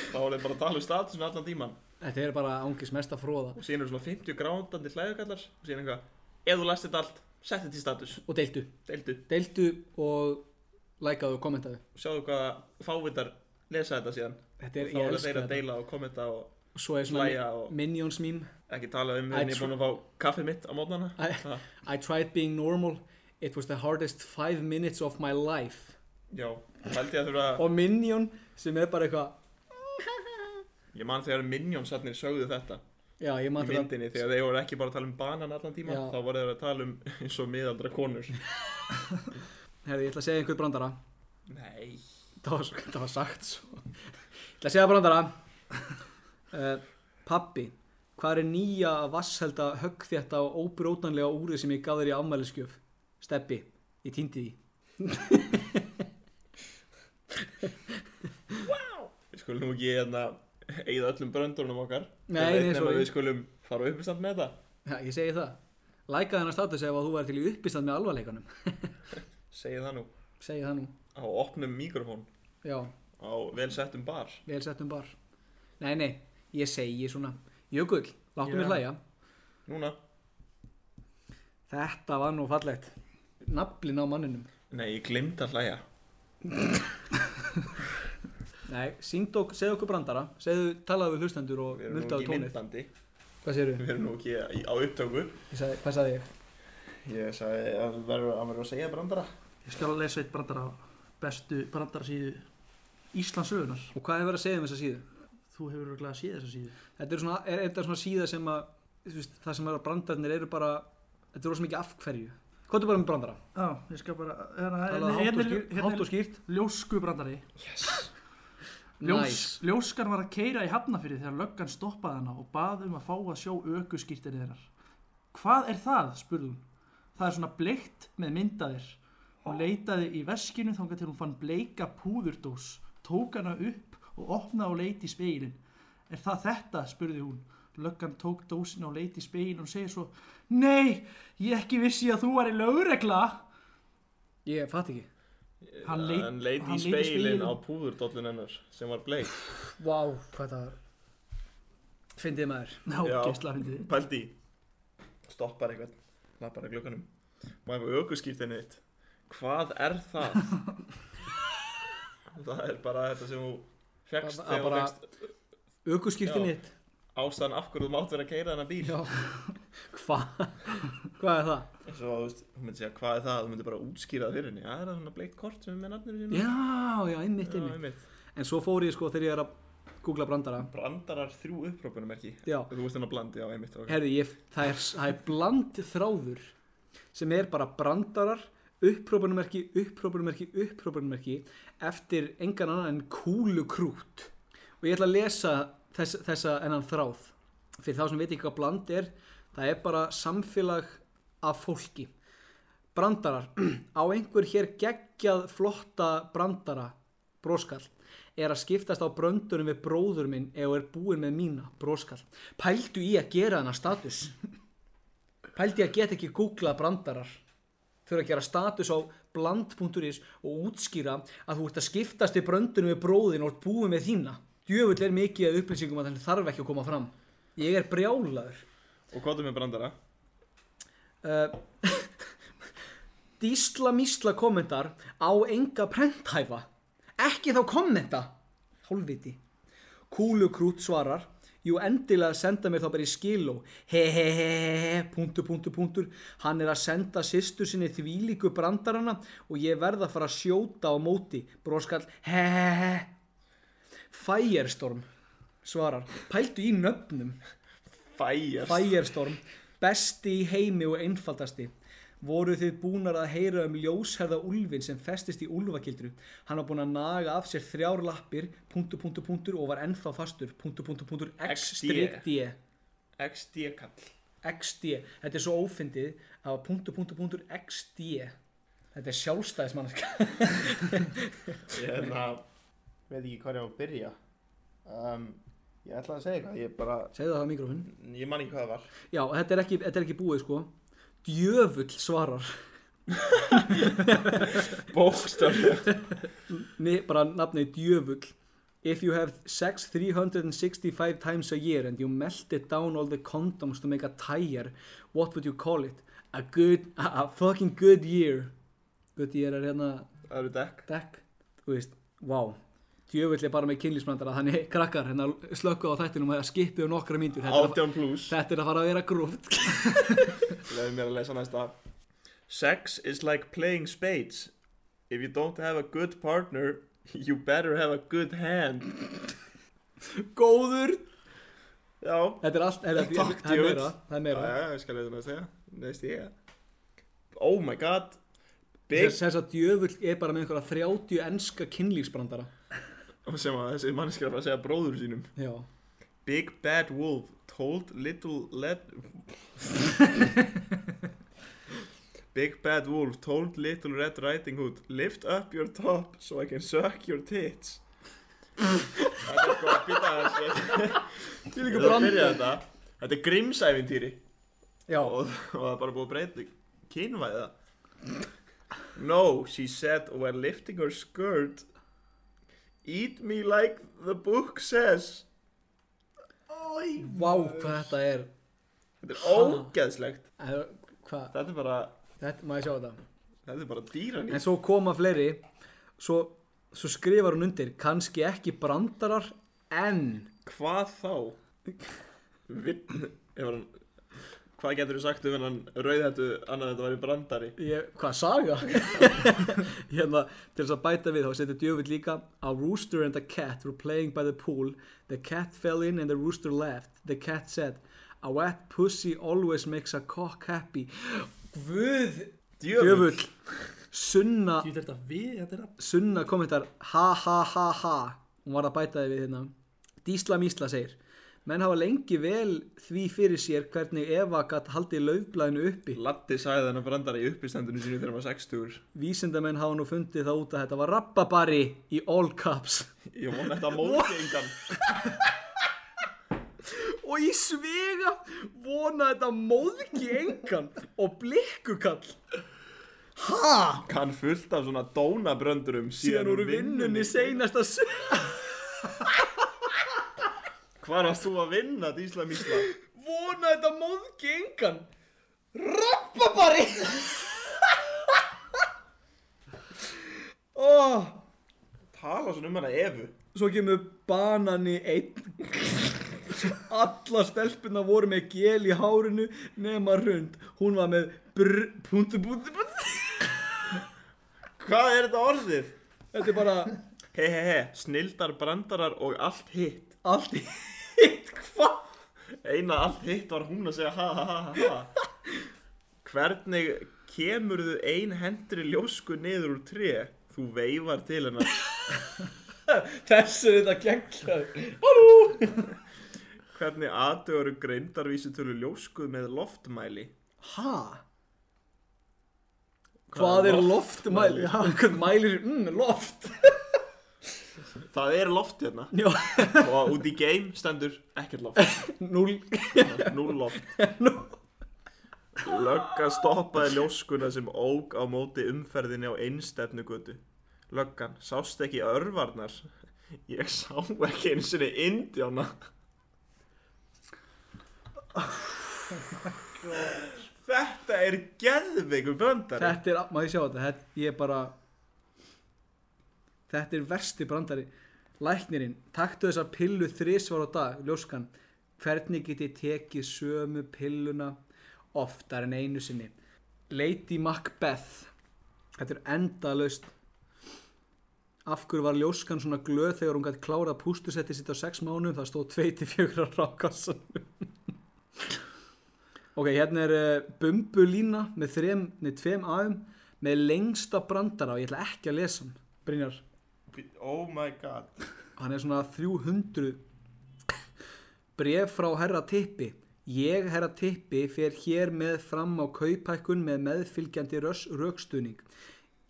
S3: Þá er þetta bara að tala um statusinu allan tíman
S2: þetta er bara ángis mesta fróða
S3: og síðan eru svona 50 grándandi hlæðugallar og síðan eitthvað ef þú last þetta allt, sett þetta í status
S2: og deildu,
S3: deildu,
S2: deildu og lækaðu og kommentaðu
S3: sjáðu hvað fávitar lesa þetta síðan
S2: þetta er,
S3: og þá eru
S2: ég
S3: þeir
S2: elska
S3: að
S2: þetta
S3: deila og kommenta og
S2: svo er svona
S3: hlæja og-
S2: Minions meme
S3: ekki tala um
S2: Æ,
S3: hvernig ég er
S2: tr-
S3: búin að fá kaffið mitt á mótnana
S2: I, I tried being normal it was the hardest five minutes of my life
S3: já, held ég að þurfa
S2: og Minion sem er bara eitthvað
S3: ég man þegar Minionsarnir sögðu þetta
S2: já, ég
S3: í
S2: man þetta
S3: myndinni þegar þeir voru ekki bara að tala um banan allan tíma
S2: Já.
S3: þá voru þeir að tala um <laughs> eins og miðaldra konur
S2: herði, ég ætla að segja einhver brandara
S3: nei,
S2: það var, svo, það var sagt svo ég ætla að segja brandara uh, pappi hvað er nýja vasshelda höggþétta og óbrótanlega úrið sem ég gaf þér í afmælisgjöf steppi, ég týndi því
S3: við skulum nú ekki hérna eigða öllum bröndunum okkar
S2: Nei,
S3: Ég veit
S2: nei,
S3: nema
S2: sorry.
S3: að við skulum fara uppistand með þetta
S2: ja, ég segi það lækaði hennar status ef að þú væri til í uppistand með alvarleikanum <laughs>
S3: segi það nú
S2: segi það nú,
S3: á opnum mikrofón
S2: já,
S3: á vel settum bar
S2: vel settum bar nei, nei, ég segi svona Jökull, láttu mig
S4: Já.
S2: hlæja
S3: núna
S2: þetta var nú fallegt naflin á manninum
S3: nei, ég glimt að hlæja
S2: nei, syngdu ok, segðu okkur brandara segðu, talaðu við hlustendur og
S3: við erum nú
S2: muldaðu
S3: ekki í
S2: tónið
S3: myndbandi
S2: hvað segir
S3: við erum nú ekki í- á upptöku
S2: Ég sagði, hvað sagði ég?
S3: ég sagði að hann verður að, verður að segja brandara
S4: ég skal lesa eitt brandara bestu brandara síðu Íslandsögunar
S2: Og hvað hefur verið að segja um þessa síðu?
S4: þú hefur örgulega séð þessa síðu
S2: Þetta er svona, er, er þetta svona síða sem að, þú veist, það sem er að brandarnir eru bara, þetta er rosa mikið af hverju. Hvað er bara með brandara?
S4: já, ég skal bara hérna,
S2: Talaðu hátt og
S4: hérna-
S2: skýrt-
S4: hérna-
S2: hátt og skýrt.
S4: ljósku brandari Ljós,
S2: Nice.
S4: Ljóskan var að keira í hafnafyrir þegar löggan stoppaði hana og bað um að fá að sjá aukuskýrtinni hennar. Hvað er það? spurði hún. Það er svona bleikt með myndaðir. Hún leitaði í veskinu þangað til hún fann bleika púðurdós, tók hana upp og opnaði og leiti í speilin. Er það þetta? spurði hún. Löggan tók dósin og leiti í speilin og segir svo Nei, ég ekki vissi að þú var í lögregla.
S2: Ég fatt ekki.
S4: Hann leit-
S3: hann leit
S4: hann leit
S3: í
S4: í
S3: speilin
S4: spegilinn.
S3: á púðurdollin hennar sem var bleik
S2: Vá, hvað það var. Fyndið maður.
S4: Ná,
S3: Já.
S4: gæstlega fyndi þið.
S3: pældi í stoppar eitthvað lappar að glögganum má ég fá aukuskýrtinni þitt hvað er <laughs> það það er bara þetta sem þú fegst
S2: Bara-
S3: þegar þú
S2: bara-
S3: fegst
S2: Ökuskýrtin
S3: Já.
S2: hitt.
S3: ástæðan af hverju þú mátt vera að keira þennan bíl
S2: Já. Hva? <laughs> hvað er það?
S3: Svo, þú veist, hún myndi segja, hvað er það? Þú myndi bara útskýra það fyrir henni. Já, er það svona bleikt kort sem er með nafninu sínu?
S2: Já, já, einmitt,
S3: Já,
S2: einmitt.
S3: einmitt.
S2: En svo fór ég sko þegar ég er að googla brandara
S3: Brandarar þrjú upprópunumerki
S2: Já.
S3: Þú veist hennar bland, já, einmitt okay.
S2: Herði, ég, það, er, það er bland þráður sem er bara brandarar upprópunumerki, upprópunumerki, upprópunumerki eftir engan annan en kúlukrút og ég ætla að lesa þess, þessa ennan þráð fyrir þá sem veit ekki hvað bland er það er bara samfélag af fólki brandarar, <clears throat> á einhver hér geggjað flotta brandara broskall, er að skiptast á bröndunum við bróður minn eða er búin með mína broskall pældu í að gera þennan status pældu í að geta ekki googlað brandarar þurfa að gera status á bland.is og útskýra að þú ert að skiptast í bröndunum við bróðin og ert búin með þína djöfull er mikið að upplýsingum að þannig þarf ekki að koma fram ég er brjálaður
S3: Og hvað er með brandara?
S2: uh, <laughs> Dísla mísla kommentar á enga prenthæfa ekki þá kommenta hálfviti Kúlukrút svarar Jú endilega senda mér þá bara í skiló Hehehehe Puntur, puntur, puntur Hann er að senda sýstu sinni þvílíku brandarana og ég verð að fara að sjóta á móti Broskall Hehehe Firestorm svarar Pældu í nöfnum
S3: Fæjars
S2: Firestorm, besti í heimi og einfaldasti. Voru þið búnar að heyra um ljósherða úlfin sem festist í úlfagildru? Hann var búinn að naga af sér þrjár lappir, punktur, punktur, punktur og var ennþá fastur, punktur, punktur, punktur, x, strik, d,
S3: XD kall
S2: x, d. Þetta er svo ófindið að var punktur, punktur, punktur, x, d. Þetta er sjálfstæðismanniska.
S3: Ég er það
S7: Hérna, veit ekki hvað ég á að byrja um, ég ætla að segja eitthvað ég bara
S2: Segðu það á mikrofon.
S3: Ég man ekki hvað það var
S7: <laughs>
S2: Já, þetta er ekki, þetta er ekki búið sko. Djöfull svarar.
S3: Bókstörn
S2: Nei, bara nafnið djöfull If you have sex 365 times a year and you melt it down all the condoms to make a tire what would you call it? A good, a, a fucking good year Good year er hérna
S3: Það eru dekk
S2: dekk, þú veist, wow djöfull er bara með kynlísmandara þannig <laughs> krakkar hérna slökkuð á þættinum að skipi um nokkra mínútur þetta, er að-
S3: 18 plus
S2: þetta er að fara að vera
S3: <laughs>
S2: grúft
S3: Leðum mér að lesa næsta Sex is like playing spades If you don't have a good partner You better have a good hand
S2: Góður
S3: Já
S2: Þetta er allt, þetta er-
S3: Takk,
S2: það er
S3: djöfull.
S2: meira, það er meira
S3: Já, já, ég skal lesa næsta, já Næst ég Oh my god Big
S2: Þess að djöfull er bara með einhverja 30 enska kynlífsbrandara
S3: Og sem að þessi mannskja er að fara að segja bróður sínum
S2: Já
S3: Big bad wolf told little <laughs> lad Big bad wolf told little red riding hood Lift up your top so I can suck your tits Þetta er góð að býta þessu Til
S2: líka brandari.
S3: þetta Þetta er grimsævintýri
S2: Já,
S3: og, og það er bara búið að breyta kynvæða No, she said while lifting her skirt Eat me like the book says Oi.
S2: Vá, hvað þetta er
S3: Þetta er ógeðslegt
S2: Eh, Hvað,
S3: Þetta er bara,
S2: þetta, maður sjá þetta
S3: þetta er bara dýran
S2: En svo koma fleiri Svo, svo skrifar hún undir kannski ekki brandarar En
S3: Hvað þá? Vinn ef hann, Hvað getur þú sagt um hennan rauðhættu annað en þetta væri brandari?
S2: ég, Hvað, saga? <laughs> hérna, til þess að bæta við Þá setur djöfull líka A rooster and a cat were playing by the pool The cat fell in and the rooster left The cat said A wet pussy always makes a cock happy Guð Djöfull Sunna
S4: Því þetta við, þetta er að
S2: Sunna kommentar ha ha ha ha hún var að bæta þið við hérna Dísla Mísla segir menn hafa lengi vel því fyrir sér hvernig Eva gatt haldið laufblæðinu uppi
S3: Latti sagði þennan brandari í uppistandinu sínu þegar hann var 60
S2: vísindamenn hafa nú fundið það út að þetta var rappabari í all caps
S3: Ég vona þetta mótingan
S2: <laughs> og í svega vona þetta móðki engan og blikkukall ha
S3: kann fullt af svona dónabröndurum
S2: síðan úr vinnunni seinasta sö
S3: Hvar varst þú að vinna, Dísla Mísla?
S2: vona þetta móðki engan rappabari oh,
S3: Tala svona um hana Evu
S2: svo kemur banani einn alla stelpuna voru með gel í hárinu nema rund hún var með brr, punktu, punktu, punktu.
S3: Hvað er þetta orðið?
S2: þetta er bara
S3: He he he, snildar, brandarar og allt hitt
S2: Allt í hitt, hvað?
S3: Eina allt hitt var hún að segja ha ha ha ha ha Hvernig kemurðu ein hendri ljósku niður úr tré? Þú veifar til hennar
S2: Þessu er þetta geggjaður.
S3: Hvernig aðdöru greindarvísi tölu ljósku með loftmæli?
S2: Ha? Hvað er loftmæli? Já, hvað mælir, mm, loft. <laughs>
S3: Það er loft hérna
S2: Já,
S3: og út í game stendur ekkert loft
S2: núl.
S3: Núl
S4: <laughs>
S3: loft
S2: Nú.
S3: Löggan stoppaði ljóskuna sem óg á móti umferðinni á einstefnugötu Löggan, sást ekki örvarnar? Ég sá ekki einu sinni indjána Þetta er geðveikur brandari
S2: Þetta er, maður ég sjá þetta, þetta, ég er bara, þetta er versti brandari. Læknirinn, taktu þessa pillu þrísvar á dag, ljóskan. Hvernig get ég tekið sömu pilluna oftar en einu sinni? Lady Macbeth, þetta er endalaust. Af hverju var ljóskan svona glöð þegar hún gætt klárað pústusetti sitt á sex mánuðum, það stóð 24 á rákassanum. Ok, hérna er uh, bumbulína með þrem, nei, tveim aðum með lengsta brandara og ég ætla ekki að lesa hann, Brynjar.
S3: Oh my god
S2: Hann er svona 300 bref frá herra tippi. Ég, herra tippi, fer hér með fram á kaupækkun með meðfylgjandi röss rökstuðning.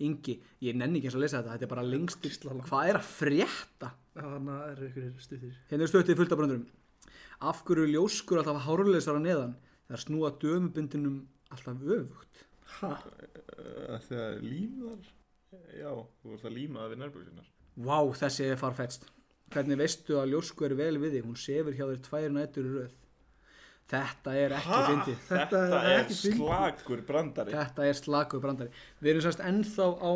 S2: Ingi, ég nenni ekki eins að lesa þetta, þetta er bara lengst Hvað er að frétta?
S4: Þannig að það eru ykkur stuttir.
S2: Hérna er stöttið fullt af bröndurum. Af hverju eru ljóskur alltaf hárleysar að neðan? Það er snúa dömubundinum alltaf öfugt.
S3: Þegar límar Já, þú vorst að líma það við nærbúksinnar
S2: Vá, þessi er farfetst. Hvernig veistu að ljósku er vel við þig? Hún sefur hjá þér tvær nætur í röð. Þetta er ekki fyndið.
S3: Þetta,
S4: er
S3: er
S4: ekki fyndið.
S3: slagur brandari
S2: Þetta er slagur brandari. Við erum sérst ennþá á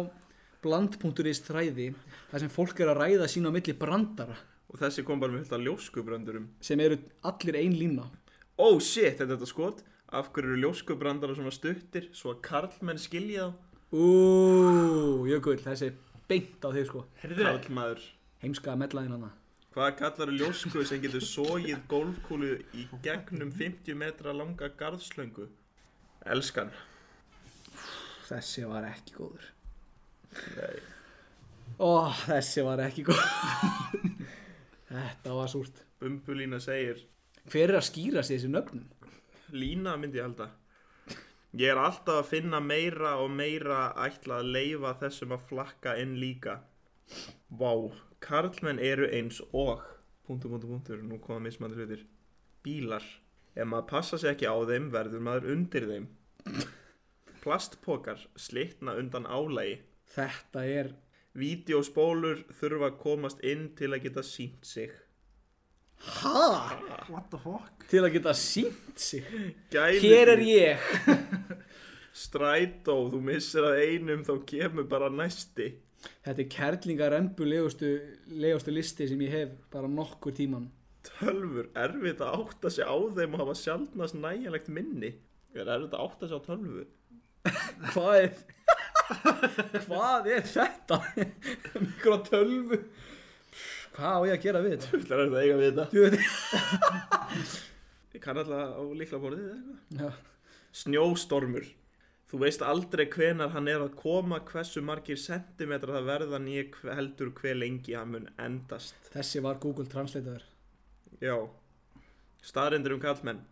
S2: bland.is þræði þar sem fólk er að ræða sína á milli brandara
S3: Og þessi kom bara með fullt af ljóskubrandurum
S2: sem eru allir ein lína.
S3: Oh shit, þetta er þetta skot Af hverju eru ljóskubrandarar svona stuttir Svo að karlmenn skilja þá
S2: Ú, jökull, þessi er beint á þig sko.
S4: Heyrðu,
S3: Karlmaður
S2: Heimska að mellaðin hana.
S3: Hvað kallar ljósku sem getur sógið golfkúlu í gegnum 50 metra langa garðslöngu? Elskan
S2: Þessi var ekki góður. Nei. Ó, þessi var ekki góður. <laughs> Þetta var súrt.
S3: Bumbulína segir
S2: Hver er að skýra sig í þessi nöfnum?
S3: Lína myndi ég halda Ég er alltaf að finna meira og meira ætla að leifa þessum að flakka inn líka Vá, karlmenn eru eins og Punktur, punktur, punktur, nú koma mismandi hlutir Bílar Ef maður passa sig ekki á þeim verður maður undir þeim Plastpokar slitna undan álægi
S2: Þetta er,
S3: Vídeóspólur þurfa að komast inn til að geta sínt sig
S4: What the fuck?
S2: til að geta sínt sig.
S3: Gælir
S2: Hér er ég.
S3: Strætó, þú missir að einum þá kemur bara næsti
S2: Þetta er kerlingarembulegustu legustu listi sem ég hef bara nokkur tíman.
S3: tölfur erfitt að átta sig á þeim og hafa sjaldnast nægilegt minni er erfitt að átta sig á tölvu
S2: Hvað er, hvað er þetta? Mikra tölvu. Hvað á ég að gera við þetta?
S3: Það er erfitt að eiga við þetta
S2: Þú veit,
S3: Ég kann alltaf á líkla borðið eða eitthvað
S2: já.
S3: Snjóstormur Þú veist aldrei hvenar hann er að koma hversu margir sentimetrar það verða nýja heldur hve lengi hann mun endast
S2: Þessi var Google Translator.
S3: Já Staðrindur um karlmenn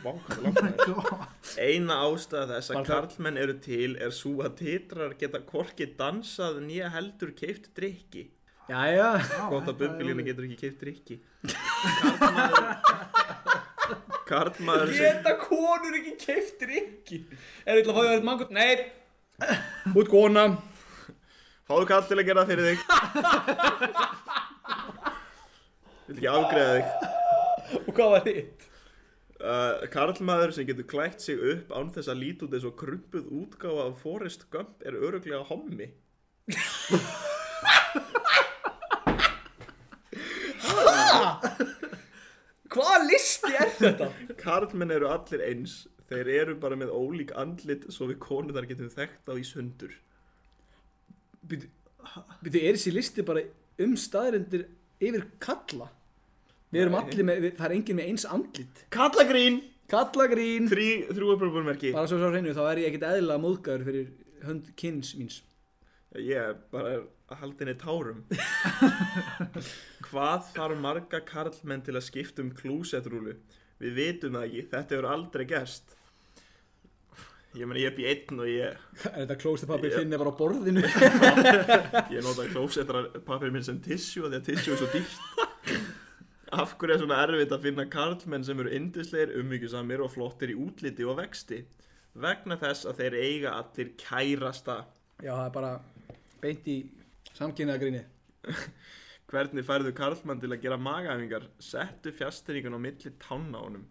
S3: Vá, hvað er langt það er. Eina ástæða þess að
S2: Var það-
S3: karlmenn eru til er sú að titrar geta korki dansað nýja heldur keift drikki
S2: Jæja.
S3: Gott að bumbilínu getur ekki keipt drikki Karlmaður sem
S2: Geta konur ekki keift drikki? Er ég ætla að fá þér eitt mangut? Nei. Út kona.
S3: Fáðu kall til að gera það fyrir þig Vil ekki afgreða þig
S2: Og hvað var hitt?
S3: uh, Karlmaður sem getur klætt sig upp án þess að líti út eins og krumpuð útgáfa af Forrest Gump er öruglega hommi
S2: Hvaða listi er þetta?
S3: Karlmenn eru allir eins Þeir eru bara með ólík andlit svo við konur þar getum þekkt á í sundur
S2: Býtu, Býtu, er þessi listi bara um staðrindir yfir kalla? Við erum allir með, við, það er enginn með eins andlit.
S3: Kallagrín
S2: Kallagrín!
S3: Þrý, þrjú uppröfunmerki
S2: Bara svo svo hreinu, þá er ég ekkert eðlilega móðgæður fyrir hönd kynns míns.
S3: Ég bara er að halda henni tárum Hvað þarf marga karlmenn til að skipta um klúsetrúlu? Við vitum það ekki, þetta hefur aldrei gerst Ég meni, ég er upp í einn og ég,
S2: <laughs> Er þetta klóstepapir
S3: Já.
S2: finni bara á borðinu?
S3: ég nota klósetrapapir minn sem tissjú Því að tissjú er svo dýrt Af hverju er svona erfitt að finna karlmenn sem eru yndislegir, ummyggjusamir og flottir í útliti og vexti? Vegna þess að þeir eiga allir kærasta
S2: <laughs> Já, það er bara beint í samkynnaða gríni.
S3: Hvernig færðu Karlmann til að gera magaæfingar? Settu fjastringun á milli tánna á honum.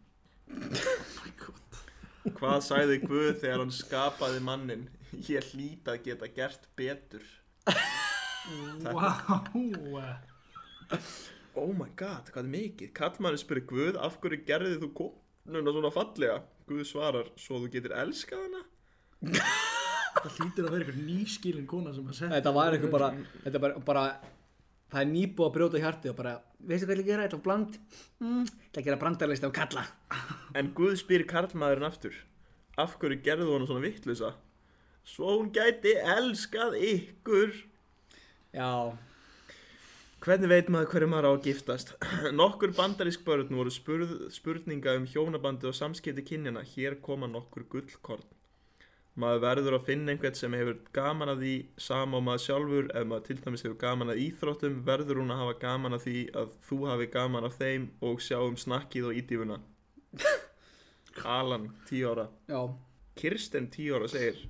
S3: Oh Hvað sagði Guð þegar hann skapaði mannin? Ég hlýt að geta gert betur.
S4: Wow.
S3: Oh my god, hvað er mikið? Karlmann spyrir Guð, af hverju gerði þú konuna svona fallega? Guð svarar, svo þú getur elskað hana?
S4: Það hlýtur að vera einhver nýskilin kona sem að setja
S2: Þetta var eitthvað bara, þetta er bara, bara það er nýbúið að brjóta hjartið og bara, veistu hvað ég ætla að gera, ég ætla að bland, mm, ég ætla að gera brandarlist á kalla.
S3: En Guð spyr Karlmaðurinn aftur, af hverju gerðu hana svona vittlösa? Svo hún gæti elskað ykkur.
S2: Já,
S3: Hvernig veit maður hverju maður á að giftast? <clears throat> Nokkur bandarísk börn voru spurð, spurninga um hjónabandi og samskipti kynjana. Hér koma nokkur gullkorn. Maður verður að finna einhvern sem hefur gaman að því sama og maður sjálfur. Ef maður til dæmis hefur gaman að íþróttum verður hún að hafa gaman að því að þú hafi gaman af þeim og sjáum snakkið og ídýfuna. Alan, 10 ára.
S2: já,
S3: Kirsten 10 ára segir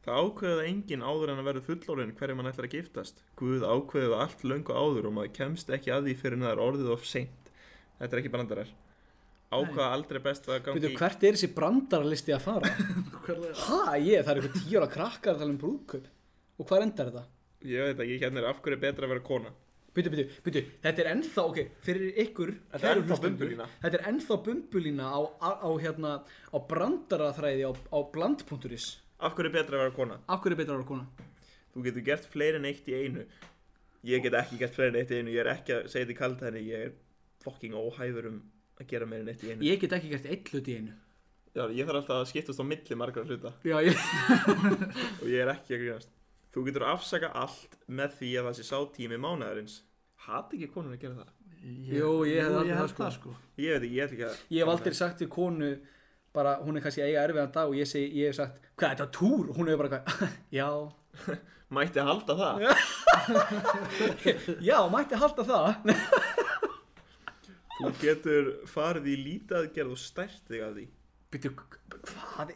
S3: Það ákveðið enginn áður en að verða fullorinn hverju mann ætlar að giftast. Guð ákveðið allt löngu áður og maður kemst ekki að því fyrir en það er orðið of seint. Þetta er ekki brandarar. Ákvaða aldrei best að gangi
S2: veitu, hvert er þessi brandarlisti að <laughs> fara?
S4: Hverlega-
S2: Ha, ég, það er eitthvað tíu ára krakkar að tala um brúðkaup. Og hvað endar þetta?
S3: Ég veit ekki, hérna er af hverju er betra að vera kona.
S2: Býtu, býtu, býtu, þetta er ennþá, ok, fyrir ykkur,
S3: Þetta er
S2: kæru
S3: ennþá
S2: hlustendur,
S3: bumbulína.
S2: Þetta er ennþá bumbulína á, á, á hérna, á brandaraþræði á, á bland.is.
S3: Af hverju er betra að vera kona?
S2: Af hverju er betra að vera kona?
S3: Þú getur gert fleiri en eitt í einu. Ég get ekki gert fleiri en eitt í einu. Ég er ekki að segja þetta í kallt henni. Ég er fucking óhæfur um að gera meira en eitt í einu.
S2: Ég get ekki gert eitt hlut í einu.
S3: Já, ég þarf alltaf að skiptast á milli margra hluta.
S2: Já, ég...
S3: og ég er ekki að grínast þú getur afsaka allt með því að það sé sá tími mánaðarins hati ekki konur að gera það
S2: Jú, ég hef aldrei
S4: ég
S2: það, sko.
S4: sko.
S3: ég veit ekki, ég ætla ekki að
S2: Ég hef aldrei sagt við konu, bara, hún er kannski að eiga erfiðan dag og ég segi, ég hef sagt, hvað, þetta er túr? Hún hefur bara, hvað, <laughs> já,
S3: mætti að halda það
S2: já, mætti halda það. <laughs>
S3: þú getur farið í lítaðgerð og stært þig að því
S2: Býtu, hvað,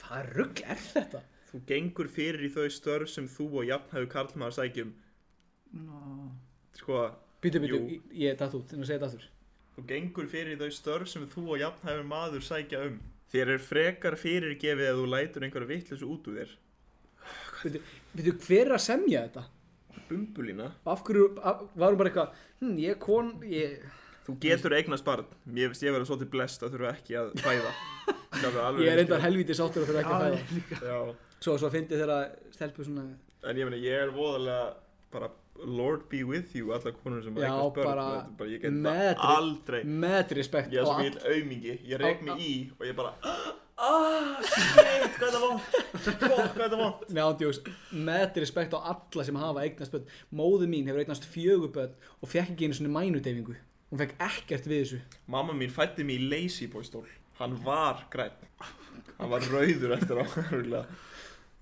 S2: hvað rugg er þetta?
S3: þú gengur fyrir í þau störf sem þú og jafnhæfu karlmaður sækjum
S4: Nó.
S3: sko,
S2: Býtu, býtu,
S3: Jú.
S2: ég- ég datt út, nú segir þetta aftur.
S3: þú gengur fyrir í þau störf sem þú og jafnhæfu maður sækja um þér er frekar fyrirgefið að þú lætur einhverja vitleysu út úr þér
S2: Býtu, býtu, hver er að semja þetta?
S3: bumbulína
S2: af hverju af, var hún bara eitthvað hm, ég er kon ég,
S3: Þú getur eignast barn, mér finnst ég vera svo til blest að þurfa ekki að
S2: <laughs>
S3: fæða Sjálfur alveg
S2: ég er
S3: reynskilinn.
S2: reyndar helvítið sáttur að fyrir ekki að
S4: Já,
S2: fæða
S4: ég líka.
S3: Já,
S2: svo, svo fyndi þeirra stelpu svona
S3: en ég meina ég er voðalega bara Lord be with you alla konur sem
S2: Já,
S3: eignast börn
S2: bara
S3: þetta er bara, ég get
S2: metri-
S3: það aldrei
S2: með respekt
S3: Ég er svo
S2: og
S3: mjög aumingi, ég reik
S2: á-
S3: mig í og ég bara <gasps> Ah, shit, hvað er það vond Fokk, hvað er það vond
S2: Neandjós, með respekt á alla sem hafa eignast börn móðu mín hefur eignast fjögur börn og fekk ekki einu svona mænudeyfingu hún fekk ekkert við þessu
S3: Mamma mín fætti mig í lazy boy stól Hann var græn Hann var rauður eftir á <laughs> örugglega.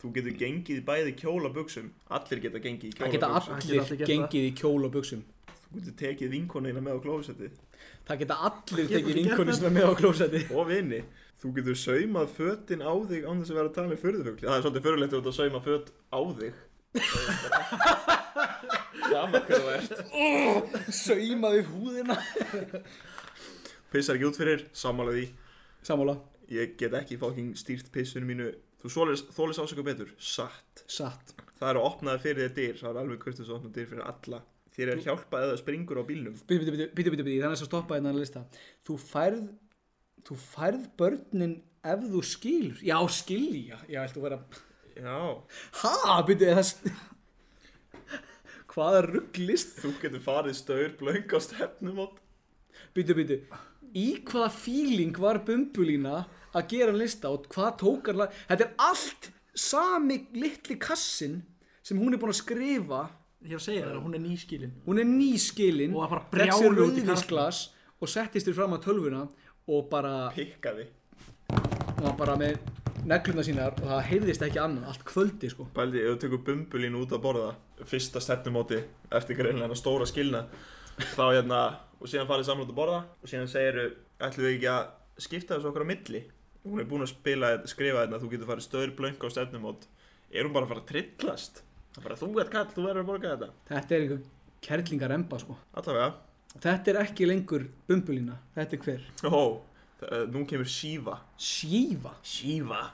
S3: Þú getur gengið í bæði kjólabuxum Allir geta gengið í
S2: það geta
S4: Það geta
S3: kjólabuxum
S2: allir
S4: allir gert
S2: gengið í kjól og buksum
S3: Þú getur tekið vinkonina með á klósetti
S2: það geta allir
S4: Geta
S2: tekið
S4: allir gert
S2: vinkonu
S4: það?
S2: sem er með á klósetti
S3: <laughs> og vini. Þú getur saumað fötin á þig án þess að vera að tala með furðufugli. Það er svolítið furðulegt að þú ert að sauma föt á þig. Sama hvernig það ert.
S2: saumaði húðina
S3: Pissar ekki út fyrir, sammála því.
S2: sammála,
S3: Ég get ekki fucking stýrt pissunum mínu. Þú svolis, þólis ásaka betur. Satt.
S2: satt
S3: Það er að opna þig fyrir þér dyr. Það er alveg kurtið að opna dyr fyrir alla. Þér er hjálpað eða springur á bílnum.
S2: Býtu, býtu, býtu, býtu, býtu, þannig að stoppa hérna að lista. Þú færð, þú færð börnin ef þú skilur. Já, skilja. Já, ættu að vera,
S3: Já.
S2: ha, býtu, er það, s- Hvaða rugglist?
S3: Þú getur farið staur blöng á stefnumót
S2: Býtu, býtu Í hvaða feeling var Bumbulína að gera lista og hvað tók hann lag- Þetta er allt sami litli kassin sem hún er búin að skrifa
S4: Ég er að segja þér að hún er nýskilin
S2: Hún er nýskilin
S4: Og var bara
S2: fékk sér
S4: brjáluð út í
S2: rauðvínsglas og settist þér fram á tölvuna og bara
S3: Pikkaði
S2: hún var bara með negluna sínar og það heyrðist ekki annað, allt kvöldi sko
S3: Bældi, ef þú tekur bumbulín út að borða Fyrsta stefnumóti Eftir greinlega hennar stóra skilna Þá hérna Og síðan farið saman út að borða Og síðan segiru Ætlum við ekki að skipta þessu okkur á milli Hún er búin að spila, skrifa hérna Þú getur farið staur blöng á stefnumót Er hún bara að fara að trillast? Það er bara þú ert kall, þú verður að borga þetta
S2: þetta er einhver kerlingar emba sko
S3: Allavega
S2: þetta er ekki lengur bumbulína, þetta er hver
S3: Ó, það- nú kemur Shiva
S2: Sjífa <laughs>
S3: Shiva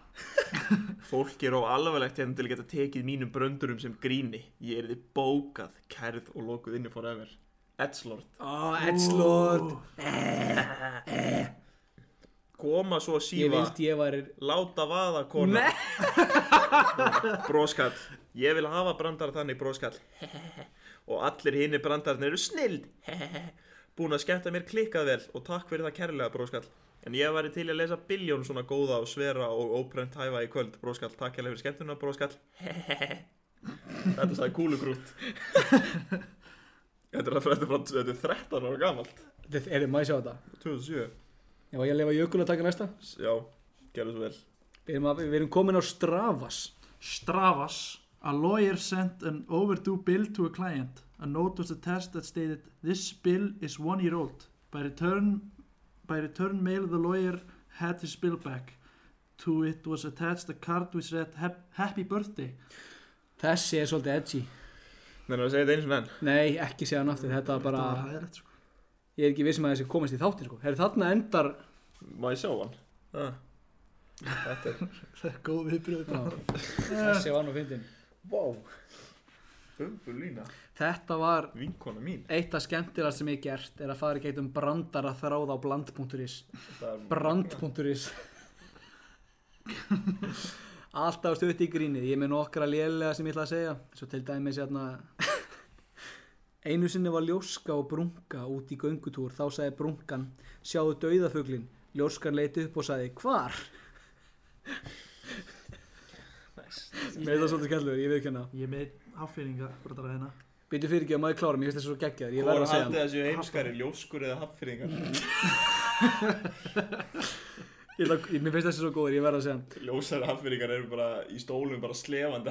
S3: Fólk er á alvarlegt hérna til að geta tekið mínum bröndurum sem gríni Ég er þið bókað, kærð og lokuð inni forever Edslord
S2: oh, Edslord,
S3: Koma svo
S2: ég
S3: Shiva
S2: vildi ég væri
S3: Láta vaða kona
S2: Nei.
S3: <laughs> Bróskall Ég vil hafa brandar þannig bróskall <laughs> Og allir hinni brandarnir eru snild <laughs> Búin að skemmta mér klikkað vel Og takk fyrir það kærlega bróskall En ég væri til í að lesa biljón svona góða og svera og óprent hæfa í kvöld bróskall Takk hérlega fyrir skemmtuna bróskall Þetta sagði kúlugrút Þetta er að frétta frá þetta er 13 ára gamalt
S2: þetta er, maður sjá þetta
S3: 2007
S2: já, ég lefa jökul að taka næsta
S3: Já, gerðu svo vel
S2: við erum, að, við erum komin á Stravas
S4: Stravas A lawyer sent an overdue bill to a client. A note was attached that stated this bill is one year old. By return, by return mail the lawyer had his bill back. To it was attached a card which read "Hap- happy birthday.
S2: þessi er svolítið edgy
S3: Nei, að segja þetta eins og enn
S2: nei, ekki segja hann aftur, þetta var bara
S4: Það var hæðilegt sko.
S2: ég er ekki vissum að þessi komast í þáttir sko Heru, þarna endar
S3: Má ég sjá hann? Ah. Þetta er
S4: Það er góð viðbröð.
S2: Já. þessi var nú fyndin
S3: Wow Bumbulína
S2: þetta var
S3: Vinkona mín
S2: Eitt af skemmtilegast sem ég hef gert er að fara í geitum brandara þráð á bland.is
S3: Þetta er
S2: Brand.is Alltaf stutt í grínið Ég er með nokkra lélega sem ég ætla að segja Svo til dæmis hérna Einu sinni var ljóska og brunka út í göngutúr Þá sagði brunkan Sjáðu dauðafuglin Ljóskan leiti upp og sagði Hvar? Með það svolítið skemmtilegur, ég veit ekki hérna
S4: Ég er með haffýringa brotara hérna.
S2: Byrju fyrir ekki að maður klára, mér finnst þessi svo geggjaður Ég
S3: Hvor
S2: verð að segja
S3: haldið
S2: hann.
S3: þessu heimskari ljóskur eða hafnfyrðingar?
S2: Ég ætla- ég- Mér finnst þessi svo góður, ég verð að segja hann.
S3: Ljósari hafnfyrðingar eru bara í stólum bara slefandi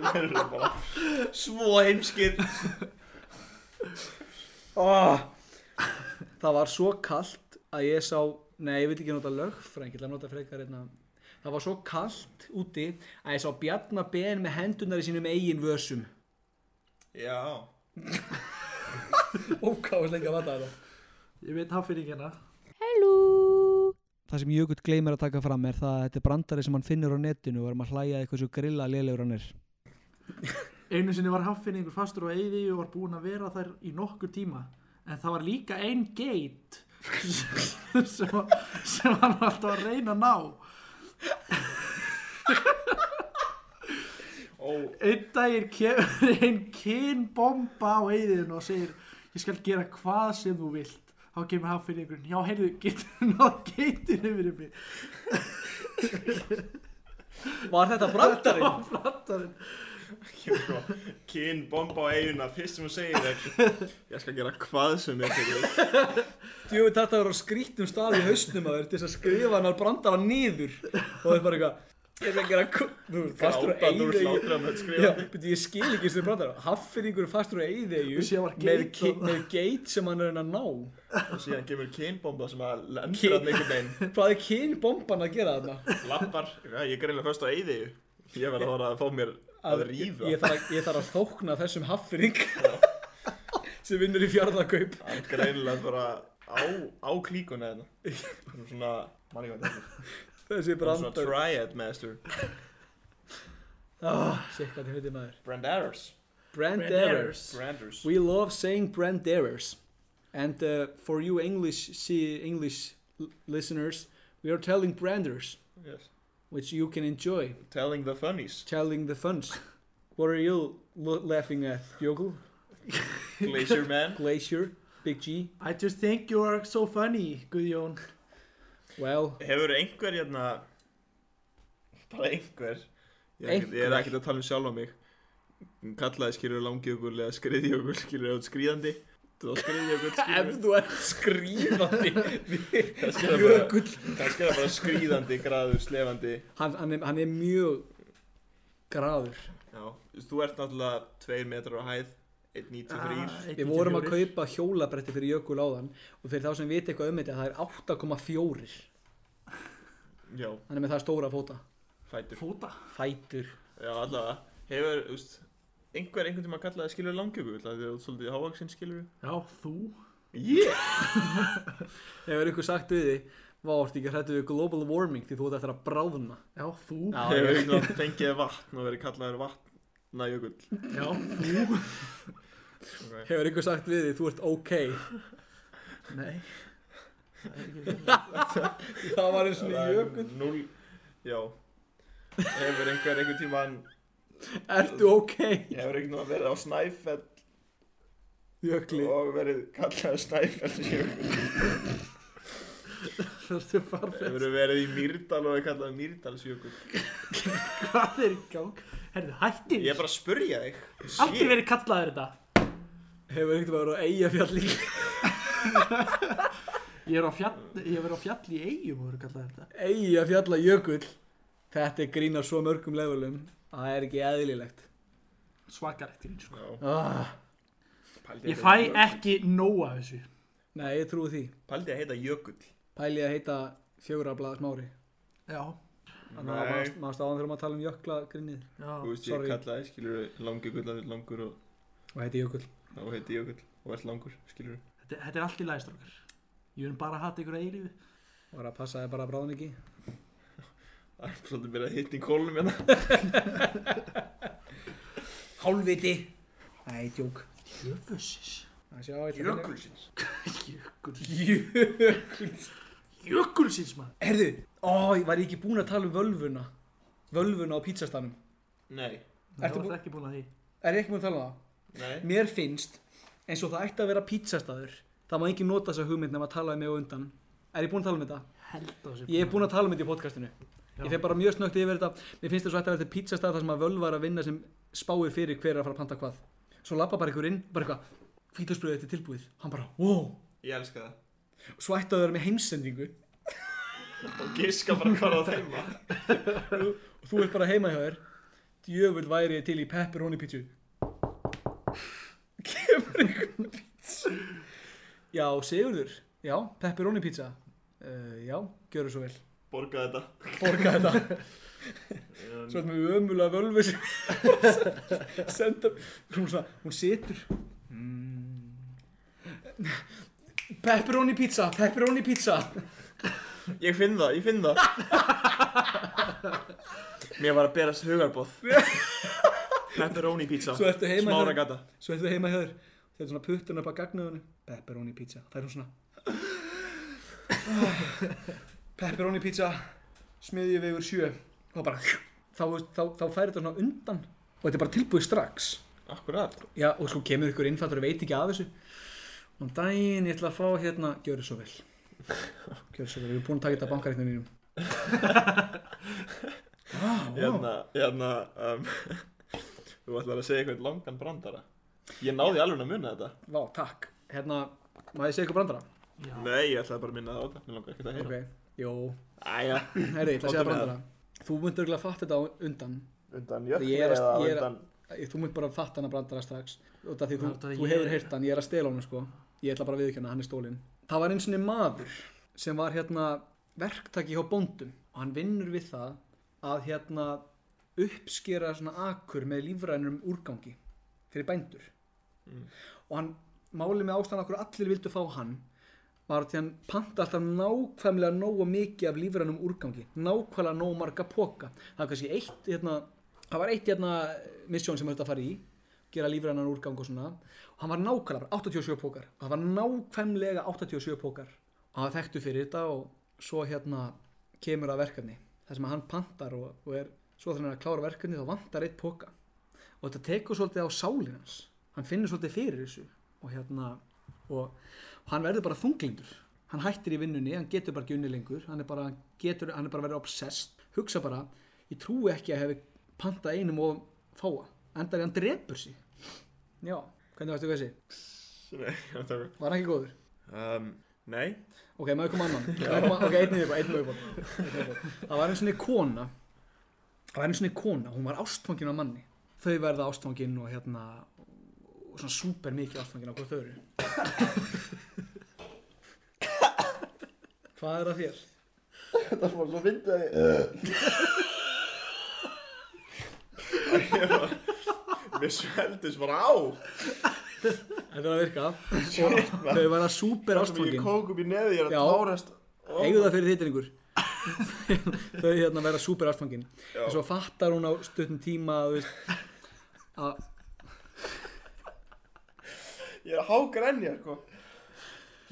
S3: Þeir eru bara Svo heimskir
S2: oh. Það var svo kallt að ég sá Nei, ég veit ekki nota lögfræng Ég ætla að nota frekar einna Það var svo kallt úti að ég sá Bjarna Ben með hendunar í sínum eigin vösum
S3: Já
S2: Ókáðast lengi að vata þetta
S4: Ég er með haffýringa hérna.
S2: Það sem Jökull gleymir að taka fram er það að þetta er brandari sem hann finnur á netinu og er maður hlæja eitthvað svo grilla lélegur hann er
S4: Einu sinni var haffyrningur fastur á eyði og var búinn að vera þær í nokkur tíma. En það var líka ein geit <laughs> sem, sem hann var alltaf að reyna að ná.
S3: Ó,
S4: Einn daginn kemur ein kynbomba á eyðinu og segir ég skal gera hvað sem þú vilt. Þá kemur haffyrningurinn, já heyrðu, getur náð geitinu fyrir mig.
S2: Var þetta brandari?
S4: Og flattarinn,
S3: sko Kinn bomba á eiguna Fyrst sem hún segir þér Ég skal gera hvað sem ég fyrir
S2: Jú, þetta var á skrítum stað í hausnum að vera til þess að skrifa hann að brandara niður og það er bara eitthvað Ég ætla að gera ku- Þú veist, fastur á
S3: Gráta þú
S2: eyðieyju.
S3: slátra með
S2: Já,
S3: skrifandi
S2: betur ég skil ekki sem brandara Haffinningur er fastur á eyðegju
S4: Og síðan var
S2: með,
S4: geit
S2: ki-
S4: þarna.
S2: með geit sem hann er að ná
S3: Og síðan kemur kinn bomba sem að
S2: Kyn-
S3: lendur að mikil neinn
S2: Hvað er kynbomban að gera þarna?
S3: Lappar, já, ég er greinlega föst á eyði Ég verð að fara að fá mér að
S2: ég,
S3: ríða
S2: ég, þarf að, ég þarf að þókna þessum haffinning sem vinnur í fjárðakaup
S3: Hann er greinlega bara á, á klíkuna
S2: <laughs>
S3: þetta Hann er svona, mann ég hvað þetta heitir.
S2: Þessi
S3: Hann er svona
S2: brandar
S3: triad master
S2: Sitt Ah, hvað þið heitir maður
S3: Brandaris
S2: Brand errors
S3: Branders
S2: We love saying brand errors and uh, for you English see English l- listeners we are telling branders
S3: yes.
S2: which you can enjoy
S3: Telling the funnies
S2: telling the funs What are you lo- laughing at, Jökull?
S3: Glacier Man
S2: Glacier? Big G?
S4: I just think you are so funny, Guðjón
S2: Well,
S3: Hefur einhver hérna bara einhver ég er, ekkert- ég er
S2: Einhver?
S3: ekkert að tala um sjálfa mig kallaði skilur langjökul eða skriðjökul skilur út skríðandi þú var skriðjökul skilur
S2: þú ert skrýðandi
S3: kannski er það bara, kannski er það bara skrýðandi graður slefandi
S2: hann, hann, er, hann er mjög graður
S3: Já, þú ert náttúrulega 2 metrar á hæð 1.93
S4: Ah,
S2: Við vorum að kaupa hjólabretti fyrir Jökul áðan og fyrir þá sem viti eitthvað um þetta það er 8,4
S3: Já,
S2: Hann er með það stóra fóta
S3: fætur
S4: Fóta
S2: Fætur
S3: Já, allavega Hefur, þú veist einhver einhvern tíma kallaði skilur langjökul það er svolítið hávaksinn skilur
S4: Já, þú
S3: yeah.
S2: Hefur ykkur sagt við því Vá, ertu ekki hrættu við global warming því þú ert eftir að bráðna
S4: Já, þú Já,
S3: Hefur einhvern tíma fengið vatn og verið kallaður vatnajökull
S4: þú
S3: okay.
S2: Hefur ykkur sagt við því þú ert ok
S4: Nei
S2: <laughs> Það var eins
S3: Það er Núl Já Hefur einhver einhvern tíma
S2: Ertu ok
S3: Hefur einhvern tíma verið á snæfell
S2: Jökli
S3: og verið kallaður snæfellsjökull
S4: Þetta er farfett
S3: Hefur verið í Mýrdal og verið kallaður Mýrdalsjökull
S4: <laughs> Hvað er í gang? Herðu, hættir
S3: Ég er bara að spurja þig
S4: Aldrei verið kallaður þetta
S2: Hefur ykkur verið á eigafjall <laughs> líka
S4: Ég er á fjall, ég hef verið á fjall í eigum og verið kallaður þetta
S2: Eigafjalla Jökull Þetta er grín á svo mörgum levelum að það er ekki eðlilegt
S4: Svakarlegt grín, sko
S3: Já,
S2: ah,
S3: pældi
S4: Ég
S3: að
S4: fæ
S3: heita-
S4: ekki nóg af þessu
S2: Nei, ég trúi því
S3: Pældi að heita jökull
S2: Pæli að heita fjögur að blaða smári
S4: Já
S2: Þannig að maður- maður stáðan þegar maður tala um jökla grinnið
S3: Þú
S4: Já
S3: veist ég
S2: sorry.
S3: kallaði skilur langjökull að við langur og
S2: og heiti jökull.
S3: þá heiti jökull og ert langur skilur
S4: Þetta, þetta er allt í lægstrókar Ég vil bara hata ykkur að eilífi
S2: Og það passaði bara að bráðan ekki.
S3: Það er svolítið byrjað að hitta í kólum hérna
S2: Hálfviti! Nei, djók.
S4: Jöfussis
S2: Það sjá, ég ætla að finna- <laughs>
S4: Jökulsins
S2: Jökull.
S4: Jökulsins maður
S2: Herðu, ó, ég var ég ekki búinn að tala um völvuna. Völvuna á pítsastanum.
S3: Nei
S4: Ég
S2: Ertu
S4: var
S2: bú-
S4: ekki búin að því
S2: Er ég ekki búinn að tala um það?
S3: Nei
S2: Mér finnst, eins og það ætti að vera pítsastaður, það má enginn nota þessa hugmynd nema að tala um mig á undan. Er ég búinn að tala um þetta?
S4: Held á þessu
S2: Ég er búinn að tala um þetta í podcastinu.
S4: Já.
S2: Ég fer bara mjög snögt yfir þetta. Mér finnst þess að þetta er pítsastað þar sem að völva er að vinna sem spáir fyrir hver er að fara að panta hvað. Svo lappa bara ykkur inn, bara eitthvað, fítusbröðið þetta er tilbúið. Hann bara, wow.
S3: Ég elska það
S2: Svo ætti að vera með heimsendingu.
S3: Og giska bara hvað á þeim
S2: Og þú ert bara heima hjá þér. Djöfull væri ég til í pepperoni pítsu. <laughs> Kemur einhvern pítsu. Já, Sigurður. Já, pepperoni pítsa. Uh, já, gjöru svo vel.
S3: Borga þetta
S2: borga þetta svo erum við ömulega völvi sem <laughs> senda hún, svona, hún situr pepperoni pizza pepperoni pizza
S3: Ég finn það, ég finn það Mér var að berast <laughs> hugarbóð Pepperoni pizza
S2: Svo ertu heima
S3: Smára
S2: hjá-
S3: gata
S2: svo þetta heima hjá þér þetta er svona puttun upp að gagnaðinu pepperoni pizza það er hún svona pepperoni pizza smiðju vegur sjö og bara þá, þá, þá færi þetta svona undan og þetta er bara tilbúið strax
S3: Akkurat
S2: Já, og sko kemur ykkur innfættur og veit ekki af þessu og um daginn ég ætla að fá hérna gjörðu svo vel gjörðu svo vel, við erum búin að taka þetta bankareiknum mínum
S3: Hérna, hérna um, <laughs> Þú ætlar að segja eitthvað langan brandara Ég náði alveg að muna þetta
S2: Vá, takk Hérna, má ég segja ykkur brandara?
S3: Nei, ég ætlaði bara að minna það á þetta Mér langar ekkert að
S2: Ok,
S3: heyra
S2: jú,
S3: Æja
S2: herri, ég ætla að segja
S3: Komdu með
S2: brandara Þú myndir örgulega að fatta þetta á undan
S7: Undan
S2: Ég
S7: jökli
S2: er að-
S7: eða
S2: ég er að-
S7: undan
S2: Ég- Þú myndir bara að fatta hana brandara strax út af því þú,
S4: Það er þetta
S2: þú
S4: ég-
S2: hefur heyrt hann, ég er að stela honum sko Ég ætla bara að viðkjöna, hann er stólinn Það var eins og maður sem var hérna verktaki hjá bóndum og hann vinnur við það að hérna uppskera svona akur með lífrænum úrgangi fyrir bændur
S4: Mm.
S2: og hann máli með ástæðan okkur allir vildu fá hann var því hann panta alltaf nákvæmlega nógu mikið af lífrænum úrgangi nákvæmlega nógu marga póka það var kannski eitt hérna, það var eitt hérna misjón sem þetta fari í gera lífrænan úrgang og svona og hann var nákvæmlega bara 87 pókar og það var nákvæmlega 87 pókar og hann var þekktu fyrir þetta og svo hérna kemur að verkefni þar sem að hann pantar og, og er svo þegar hann er að klára verkefni þá vantar eitt póka og þetta tekur svolítið á sálinn hans hann finnur svolítið fyrir þessu og hérna og, og hann verður bara þunglindur hann hættir í vinnunni, hann getur bara ekki unni lengur hann er bara, hann getur, hann er bara verið obsessed hugsa bara, ég trúi ekki að hefi pantað einum og fáa endar í hann drepur sig já, hvernig varstu þessi?
S3: Nei, I'm sorry.
S2: Var hann ekki góður?
S3: um, <laughs> nei,
S2: Ok, maður kom annan Maður kom- Ok, einn yfir, einn yfir Það var einu sinni kona Það var einu sinni kona, hún var ástfangin af manni Þau verða ástfangin og hérna og svona súper mikið ástfangin á hvort þau eru Hvað er að þér?
S7: Þetta var svo fyndið að ég...
S3: mér sveltist bara á
S2: Þetta er að virka
S3: Shit,
S2: Þau
S3: maður
S2: verða
S3: sem
S2: súper
S3: ég
S2: ástfangin
S3: kók upp í nefi, ég er að
S2: Já.
S3: tárast
S2: eigðu það fyrir þitringur þau hérna vera súper ástfangin
S3: Já.
S2: en svo fattar hún á stuttum tíma þú veist, að
S3: Ég er að hágrenja, sko